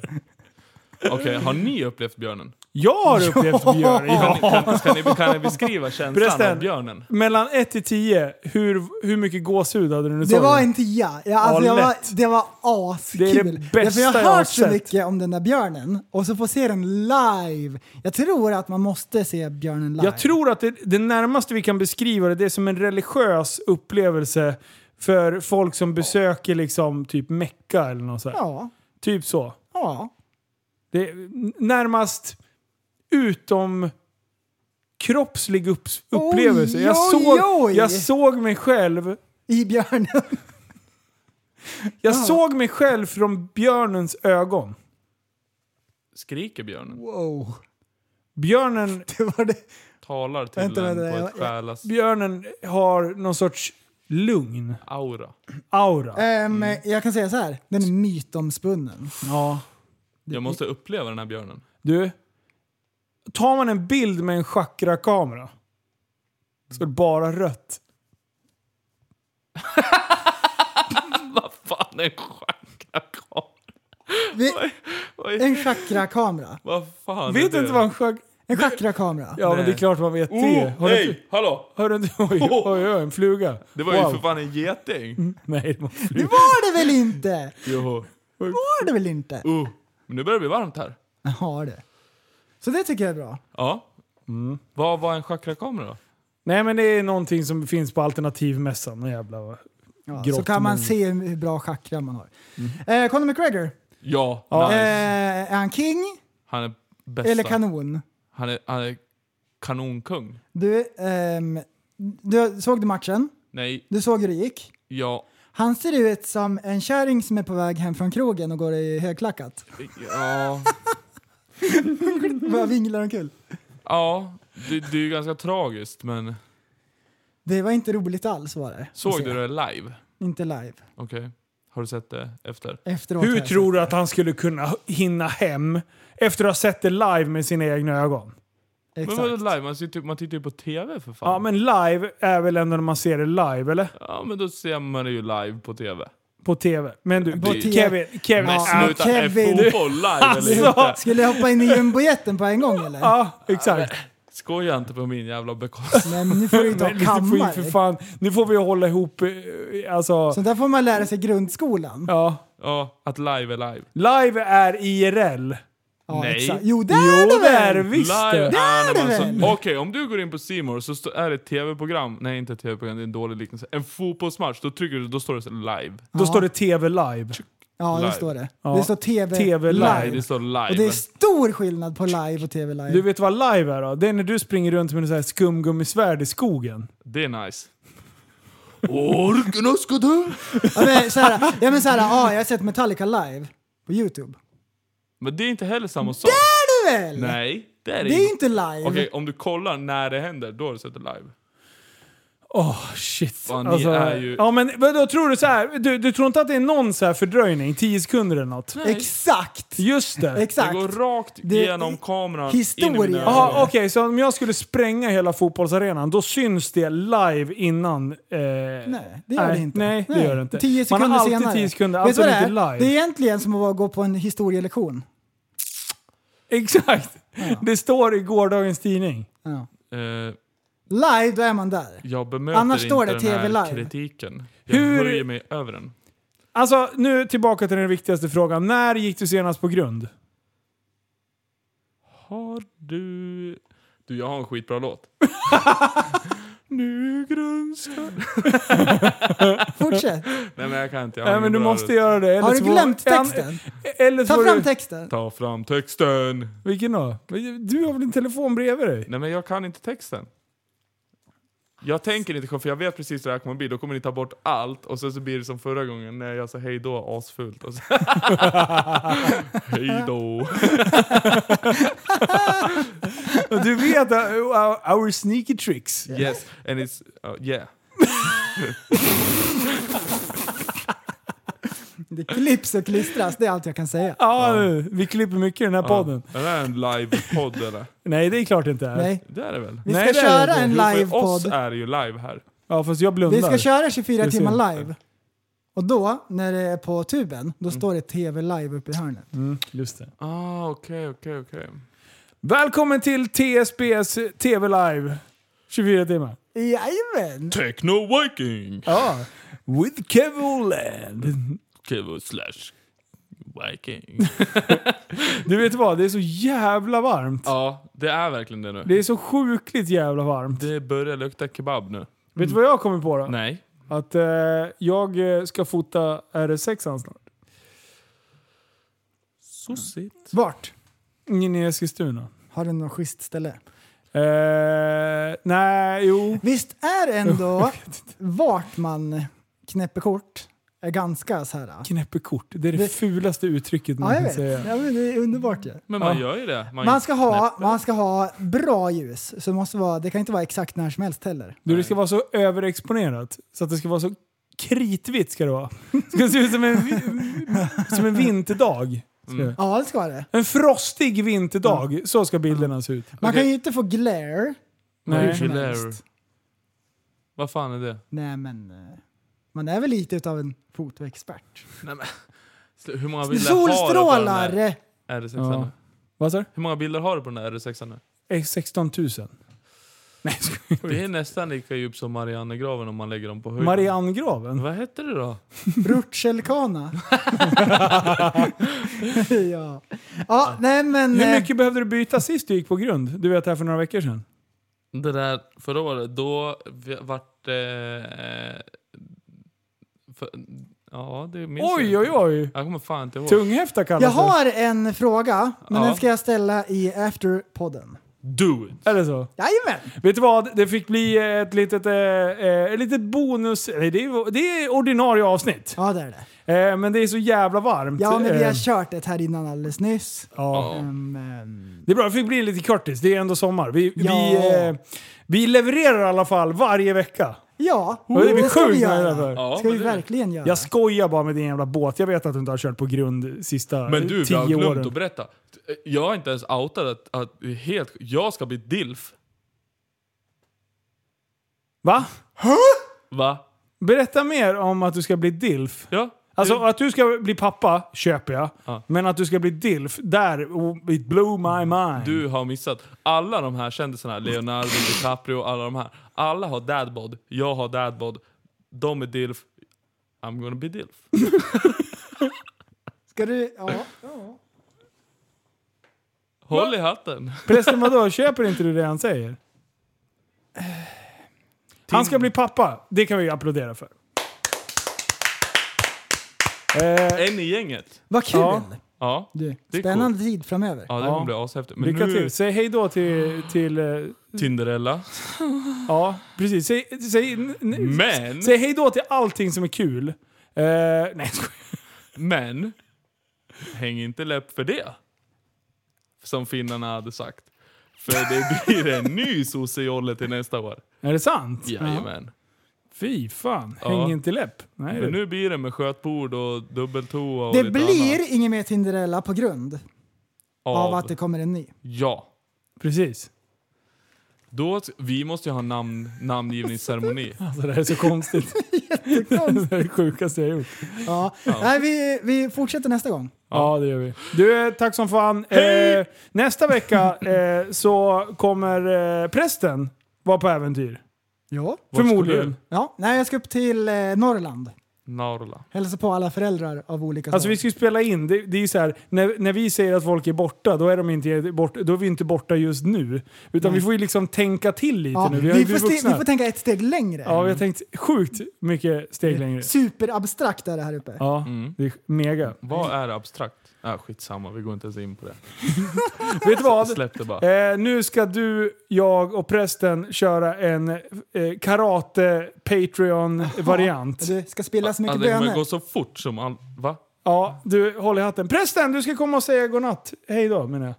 S5: Okej, har ni upplevt björnen?
S3: Jag har upplevt björn.
S5: Kan,
S3: Ja.
S5: ni- kan, kan, ni, kan ni beskriva känslan av
S3: Förresten.
S5: björnen?
S3: Mellan 1 till 10, hur, hur mycket gåshud hade du när du
S4: Det
S3: såg
S4: var
S3: den?
S4: en tia. Ja, alltså
S3: Ja,
S4: jag var,
S3: lätt.
S4: det var askul.
S3: Det är det bästa
S4: jag har
S3: jag har
S4: hört så
S3: sett.
S4: mycket om den där björnen och så får se den live. Jag tror att man måste se björnen live.
S3: Jag tror att det, det närmaste vi kan beskriva det, det är som en religiös upplevelse för folk som besöker liksom typ Mecka eller något sånt.
S4: Ja.
S3: Typ så.
S4: ja.
S3: Det är n- närmast utom kroppslig upps- upplevelse. jag,
S4: Oj,
S3: såg,
S4: oj.
S3: jag såg mig själv
S4: I björnen.
S3: jag såg mig själv från björnens ögon.
S5: skriker björnen.
S4: Wow.
S3: Björnen,
S4: Det var det.
S5: Talar till
S4: Vänta,
S5: en
S4: vänta,
S5: på
S4: jag-
S5: ett
S4: jag-
S5: själas
S3: björnen har någon sorts lugn
S5: aura.
S3: aura.
S4: Ehm, Jag kan säga så här. Den är mytomspunnen.
S3: Ja.
S5: Jag måste uppleva den här björnen.
S3: Du, tar man en bild med en chakrakamera så är det bara rött.
S5: Vad fan, en chakrakamera?
S4: Vi,
S5: Vad är-
S4: en chakrakamera.
S5: Vad fan är
S3: Vet du
S5: det?
S3: inte vad en chak...
S4: En chakrakamera.
S3: Ja, men det är
S5: Nej.
S3: klart man vet
S5: Oh,
S3: det. Har du inte...
S5: nej! Hallå! Oh,
S3: Har du inte... Oj, oj, oj, en fluga.
S5: Det var
S3: Wow.
S5: ju för fan en geting.
S3: Nej, det var en
S4: Det
S3: fluga.
S4: var det väl inte?
S5: Joho.
S4: var det väl inte?
S5: Uh, men nu börjar det bli varmt här.
S4: Ja, det. Så det tycker jag är bra.
S5: Ja. Vad var en chakrakamera då?
S3: Nej, men det är någonting som finns på alternativmässan. Någon jävla...
S4: Ja,
S3: Grått Mhm.
S4: så kan man
S3: mun.
S4: se hur bra chakra man har. Eh, Conor McGregor.
S5: Ja, nice.
S4: Eh, är han king
S5: Han är bästa.
S4: eller kanon?
S5: han, är, han är kanonkung.
S4: Du, ehm, du såg du matchen?
S5: Nej,
S4: Du såg hur det gick?
S5: ja,
S4: Han ser ut som en kärring som är på väg hem från krogen och går i högklackat.
S5: ja,
S4: Bara vinglar omkull.
S5: ja. Det, det är ju ganska tragiskt men
S4: Det var inte roligt alls var det.
S5: såg
S4: Att
S5: du
S4: se.
S5: det live?
S4: Inte live.
S5: Okej. Har du sett det efter?
S4: Efteråt. har
S3: Hur
S4: jag
S3: tror du att han skulle kunna hinna hem efter att ha sett det live med sina egna ögon?
S4: sett.
S5: Men
S4: Exakt.
S5: vadå live? Man, sitter, man tittar ju på TV för fan.
S3: Ja, men live är väl ändå när man ser det live, eller?
S5: Ja, men då ser man det ju live på TV.
S3: På TV. Men du,
S4: På
S3: Kevin,
S4: TV.
S3: Kevin, Kevin.
S5: Men
S4: Ja,
S5: sluta,
S4: Kevin.
S5: är fotboll live eller
S3: Alltså.
S5: inte?
S4: Skulle jag hoppa in i jumbojetten på en gång eller?
S3: Ja, exakt.
S5: Skoja inte på min jävla bekostnad.
S4: Men nu får du ju ta
S3: Men
S4: och
S3: du får ju
S4: kamma
S3: för
S4: dig.
S3: fan, nu får vi hålla ihop, eh, alltså.
S4: Så där får man lära sig i grundskolan.
S3: Ja.
S5: Ja, att live är live.
S3: Live är IRL.
S4: Ja,
S5: Nej.
S4: exakt. Jo, det är
S3: Jo, det
S4: det
S3: är det
S4: väl!
S3: visst
S5: Live
S3: det.
S4: är
S5: är när
S4: det
S5: man
S4: väl?
S5: så- Okej, om du går in på C More så stå- är det ett tv-program. Nej, inte ett tv-program, det är en dålig liknelse. En fotbollsmatch, då trycker du, då står det så här live.
S3: Då står det TV live.
S4: Ja, det
S5: Live.
S4: står det.
S3: Ja.
S4: Det står TV,
S3: TV live.
S5: Nej, det står live.
S4: Och det är stor skillnad på live och TV live.
S3: Du vet vad live är då? Det är när du springer runt med en sån här skumgummisvärd i skogen.
S5: Det är nice. Orken ska du!
S4: Ja, men, så här, ja, men så här, ja, jag har sett Metallica live på YouTube.
S5: Men det är inte heller samma sak.
S4: Är du väl?
S5: Nej, det är det,
S4: Det är
S5: inte.
S4: inte live.
S5: Okej, om du kollar när det händer, då har du sett det live.
S3: Åh Ah, shit. Alltså,
S5: Fan, ni är ju-
S3: Ja men då tror du så här, du, du tror inte att det är någon så här fördröjning, 10 sekunder eller något?
S4: Exakt!
S3: Just det.
S4: Exakt.
S5: Det går rakt
S4: Det är
S5: genom kameran in i
S4: historia.
S5: mina
S3: Jaha,
S5: ögon.
S3: okej, så om jag skulle spränga hela fotbollsarenan, då syns det live innan... Eh,
S4: Nej, det gör det inte.
S3: Nej, det gör det inte.
S4: Tio sekunder
S3: Man har alltid
S4: senare.
S3: 10 sekunder,
S4: Vet
S3: alltså
S4: du vad
S3: det
S4: det
S3: är
S4: är?
S3: inte live.
S4: Det är egentligen som att gå på en historielektion.
S3: Exakt! Det står i gårdagens tidning.
S4: Ja.
S5: Eh,
S4: Live, då är man där.
S5: jag bemöter
S4: Annars
S5: inte
S4: står det
S5: den
S4: TV
S5: här
S4: live.
S5: kritiken. Jag
S3: Hur-
S5: höjer mig över den.
S3: Alltså, nu tillbaka till den viktigaste frågan. När gick du senast på grund?
S5: Har du... Du, jag har en skitbra låt. nu grönskar...
S4: Fortsätt.
S5: Nej men jag kan inte. Jag har
S3: Nej,
S5: ingen
S3: men du
S5: bra
S3: måste
S5: röst.
S3: göra det. Eller
S4: Har du
S3: så får-
S4: glömt
S3: en-
S4: texten?
S3: Eller så
S4: Ta
S3: får
S4: fram
S3: du-
S4: texten.
S5: Ta fram texten.
S3: Vilken då? Du har väl din telefon bredvid dig?
S5: Nej men jag kan inte texten. Jag tänker inte för jag vet precis hur det här kommer bli. Då kommer ni ta bort allt och sen så blir det som förra gången när jag sa hej då asfullt. Och så- hej då.
S3: Du vet uh, our- our sneaky tricks.
S5: Yes, and it's... Uh, yeah.
S4: Det klipps och klistras, det är allt jag kan säga.
S3: Ja, nu, vi klipper mycket i den här podden.
S5: Ja. Är det här en livepodd eller?
S3: Nej, det är klart det inte är.
S4: Nej.
S5: Det är det väl?
S4: Vi
S3: Nej,
S4: ska
S3: det är det
S4: köra
S3: inte.
S4: en
S5: Jo, för oss
S4: livepodd.
S5: är det ju live här.
S3: Ja, fast jag blundar.
S4: Vi ska köra 24
S3: Jag ser
S4: timmar
S3: inte.
S4: live. Och då, när det är på tuben, då står det TV live uppe i hörnet.
S3: Mm, just det.
S5: Ah, okej, okej, okej.
S3: Välkommen till TSBs TV Live 24 timmar.
S4: Jajamän!
S5: Techno Viking!
S3: Ja. With Kevin Åland.
S5: Kevo slash Viking.
S3: Du vet vad, det är så jävla varmt.
S5: ja, det är verkligen det nu.
S3: Det är så sjukligt jävla varmt.
S5: Det börjar lukta kebab nu.
S3: Vet du vad jag kommer på då?
S5: Nej.
S3: Att eh, jag eh, ska fota RS6 snart.
S5: Sossigt.
S4: Vart?
S3: Ingen i Eskilstuna.
S4: Har du något schysst ställe?
S3: Eh, nej, jo.
S4: Visst är ändå vart man knäpper kort är ganska så här.
S3: Knäppekort. Det är det,
S4: Det-
S3: fulaste uttrycket man
S4: Ja, jag
S3: kan
S4: vet.
S3: säga.
S4: Ja, men det är underbart ju.
S5: Men man
S3: Ja.
S5: gör ju det. Man,
S4: Man ska, ha, man ska ha bra ljus, så det, måste vara, det kan inte vara exakt när som helst heller.
S3: Du, det ska vara så överexponerat så att det ska vara så kritvitt ska det vara. Det ska se ut som en, som en vinterdag. Ska det.
S4: Ja, det ska vara det.
S3: En frostig vinterdag, så ska bilderna se ut.
S4: Man
S5: Okej.
S4: kan ju inte få glare.
S3: Nej.
S4: Hur som helst.
S5: Glare. Vad fan är det?
S4: Nej, men eh, man är väl lite utav en fotoexpert.
S5: Hur många bilder har du på den där
S4: Solstrålar!
S5: RS6?
S3: Ja. Vad sa du?
S5: Hur många bilder har du på den där RS6? nu?
S3: Eh, 16 000. Nej, jag skojar.
S5: Det är nästan lika djupt som Mariannegraven om man lägger dem på höjden.
S3: Mariannegraven.
S5: Vad hette det då?
S4: Rutschelkana. ja. ja, nej men...
S3: Hur
S4: eh,
S3: mycket behövde du byta sist du gick på grund? Du vet det här för några veckor sedan.
S5: Det där förra året, då vi- vart det... Eh, för, ja, det minns
S3: Oj,
S5: jag.
S3: oj,
S5: inte.
S3: oj!
S5: Jag kommer fan inte ihåg.
S3: Tunghäfta kallas
S4: Jag har en fråga, men
S5: Ja.
S4: den ska jag ställa i afterpodden.
S5: Do it!
S3: det. Är det så?
S4: Jajamän!
S3: Vet du vad? Det fick bli ett litet, eh, eh, ett litet bonus... Nej, det, är, det är ordinarie avsnitt.
S4: Ja, det är det.
S3: Eh, men det är så jävla varmt.
S4: Ja, men vi har
S3: Eh,
S4: kört ett här innan alldeles nyss.
S3: ja.
S4: Ehm, ehm,
S3: Det är bra, det fick bli lite kortis. Det är ändå sommar. Vi, vi,
S4: Ja.
S3: eh, vi levererar i alla fall varje vecka.
S4: ja,
S3: Och det blir
S4: ska vi
S3: sjukt nöjda
S4: göra.
S3: för.
S5: Ja,
S4: ska vi
S5: men det-
S4: verkligen göra.
S3: Jag skojar bara med din jävla båt. Jag vet att du inte har kört på grund sista
S5: Men du, vi
S3: tio
S5: har glömt
S3: åren.
S5: att berätta. Jag har inte ens outat att, att det är helt, jag ska bli DILF.
S3: Va?
S5: Va?
S3: Berätta mer om att du ska bli DILF.
S5: Ja?
S3: Alltså
S5: Du-
S3: att du ska bli pappa köper jag.
S5: Ja.
S3: Men att du ska bli DILF, där, oh, it blew my mind.
S5: Du har missat. Alla de här kändisarna, Leonardo DiCaprio, alla de här. Alla har dadbod. Jag har dadbod. De är DILF. I'm gonna be DILF.
S4: Ska du... Ja.
S5: Håll i hatten.
S3: Prästen vadå, köper inte du det han säger? Han ska bli pappa, det kan vi applådera för. Eh,
S5: En i gänget.
S4: Vad kul!
S3: Ja.
S5: Ja.
S4: Du,
S5: Det är
S4: spännande tid framöver.
S5: Ja, det
S3: Ja.
S5: kommer bli ashäftigt. Men
S3: lycka
S5: nu,
S3: till. Säg hej då till... till eh,
S5: Tinderella.
S3: ja, precis. Säg, säg, n- n-
S5: Men,
S3: säg hej då till allting som är kul. Eh, nej, jag skojar.
S5: men, häng inte läpp för det. Som finnarna hade sagt. För det blir en ny sosse i Olle till nästa år.
S3: Är det sant?
S5: Jajamän.
S3: Fy fan.
S5: Ja.
S3: Häng inte läpp. Nej,
S5: Men
S3: du.
S5: nu blir det med skötbord och dubbeltoa och
S4: Det
S5: lite annat.
S4: blir inget mer Tinderella på grund av att det kommer en ny.
S5: Ja.
S3: Precis.
S5: Då, vi måste ju ha namn, namngivningsceremoni.
S3: Alltså det här är så konstigt.
S4: Jättekonstigt.
S3: det är det sjukaste jag har gjort.
S4: Ja. Nej, vi, vi fortsätter nästa gång.
S3: Ja, det gör vi. Du, eh, tack som fan. Eh, nästa vecka eh, så kommer eh, prästen vara på äventyr.
S4: Ja.
S5: ska
S3: Förmodligen.
S5: du?
S4: ja. Nej, jag ska upp till eh, Norrland.
S5: Norla.
S4: Hälsa på alla föräldrar av olika
S3: Alltså
S4: slag.
S3: vi ska ju spela in. Det, det är ju så här, när, när vi säger att folk är borta, då är, de inte borta, då är vi inte borta just nu. Utan vi får ju liksom tänka till lite
S4: ja,
S3: nu.
S4: vi,
S3: har ju
S4: får
S3: blivit
S4: ste-
S3: vuxna.
S4: vi får tänka ett steg längre.
S3: Ja, vi har tänkt sjukt mycket steg
S4: Mm.
S3: längre.
S4: Superabstrakt är det här uppe.
S3: Ja, det är mega.
S5: Mm. Vad är abstrakt? Ah, skitsamma, vi går inte ens in på det.
S3: Vet du vad?
S5: Släpp det bara.
S3: Eh, nu ska du, jag och prästen köra en eh, karate-Patreon-variant.
S4: Du ska spilla så mycket
S5: Ah, det kommer gå
S4: bönor.
S5: så fort som all... Va?
S3: Ja, du, håll i hatten. Prästen, du ska komma och säga godnatt. Hej då, menar jag.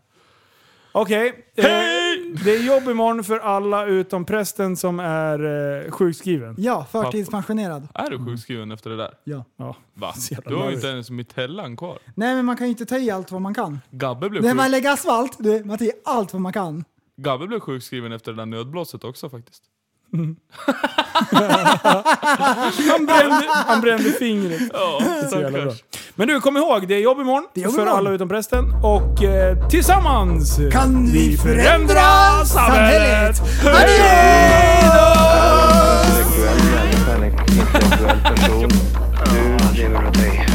S3: Okej. eh,
S5: Hej!
S3: Det är jobb imorgon för alla utom prästen som är eh, sjukskriven.
S4: Ja, förtidspensionerad.
S5: Är du sjukskriven efter det där?
S4: Ja.
S3: Ja.
S5: Va?
S3: jävla
S5: Du har ju
S3: larvigt.
S5: inte ens mitellan kvar.
S4: Nej, men man kan ju inte ta i allt vad man kan.
S5: Gabbe blev,
S4: När man
S5: sjuk...
S4: lägger asfalt, du, man tar i allt vad man kan.
S5: Gabbe blev sjukskriven efter det där nödblåset också faktiskt.
S3: Mm. Han, brände, han brände fingret.
S5: Ja,
S3: Så jävla bra.
S5: stackars.
S3: Men du, kom ihåg, det är jobb imorgon
S4: är jobb
S3: för
S4: imorgon.
S3: alla utom prästen. Och eh, tillsammans
S4: Kan vi förändra samhället?
S1: Intellektuell människa, en intellektuell person. Du lever åt dig.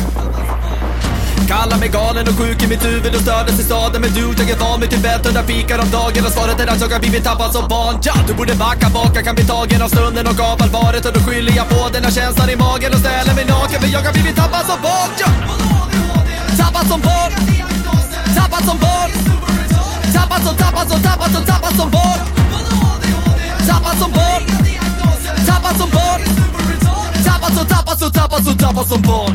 S2: Kallar mig galen och sjuk i mitt huvud och stördes i staden Men du, jag är van vid Tibet under fikar om dagen Och svaret är att jag har blivit tappad som barn ja, Du borde backa bak, jag kan bli tagen av stunden och av allvaret Och då skyller jag på den här känslan i magen och ställer mig naken För jag har blivit tappad som barn ja. Tappad som barn Tappad som barn Tappad som, tappad som, tappad som, tappad som barn Tappad som barn Tappad som barn Tappad som, tappad som, tappad som, tappad som barn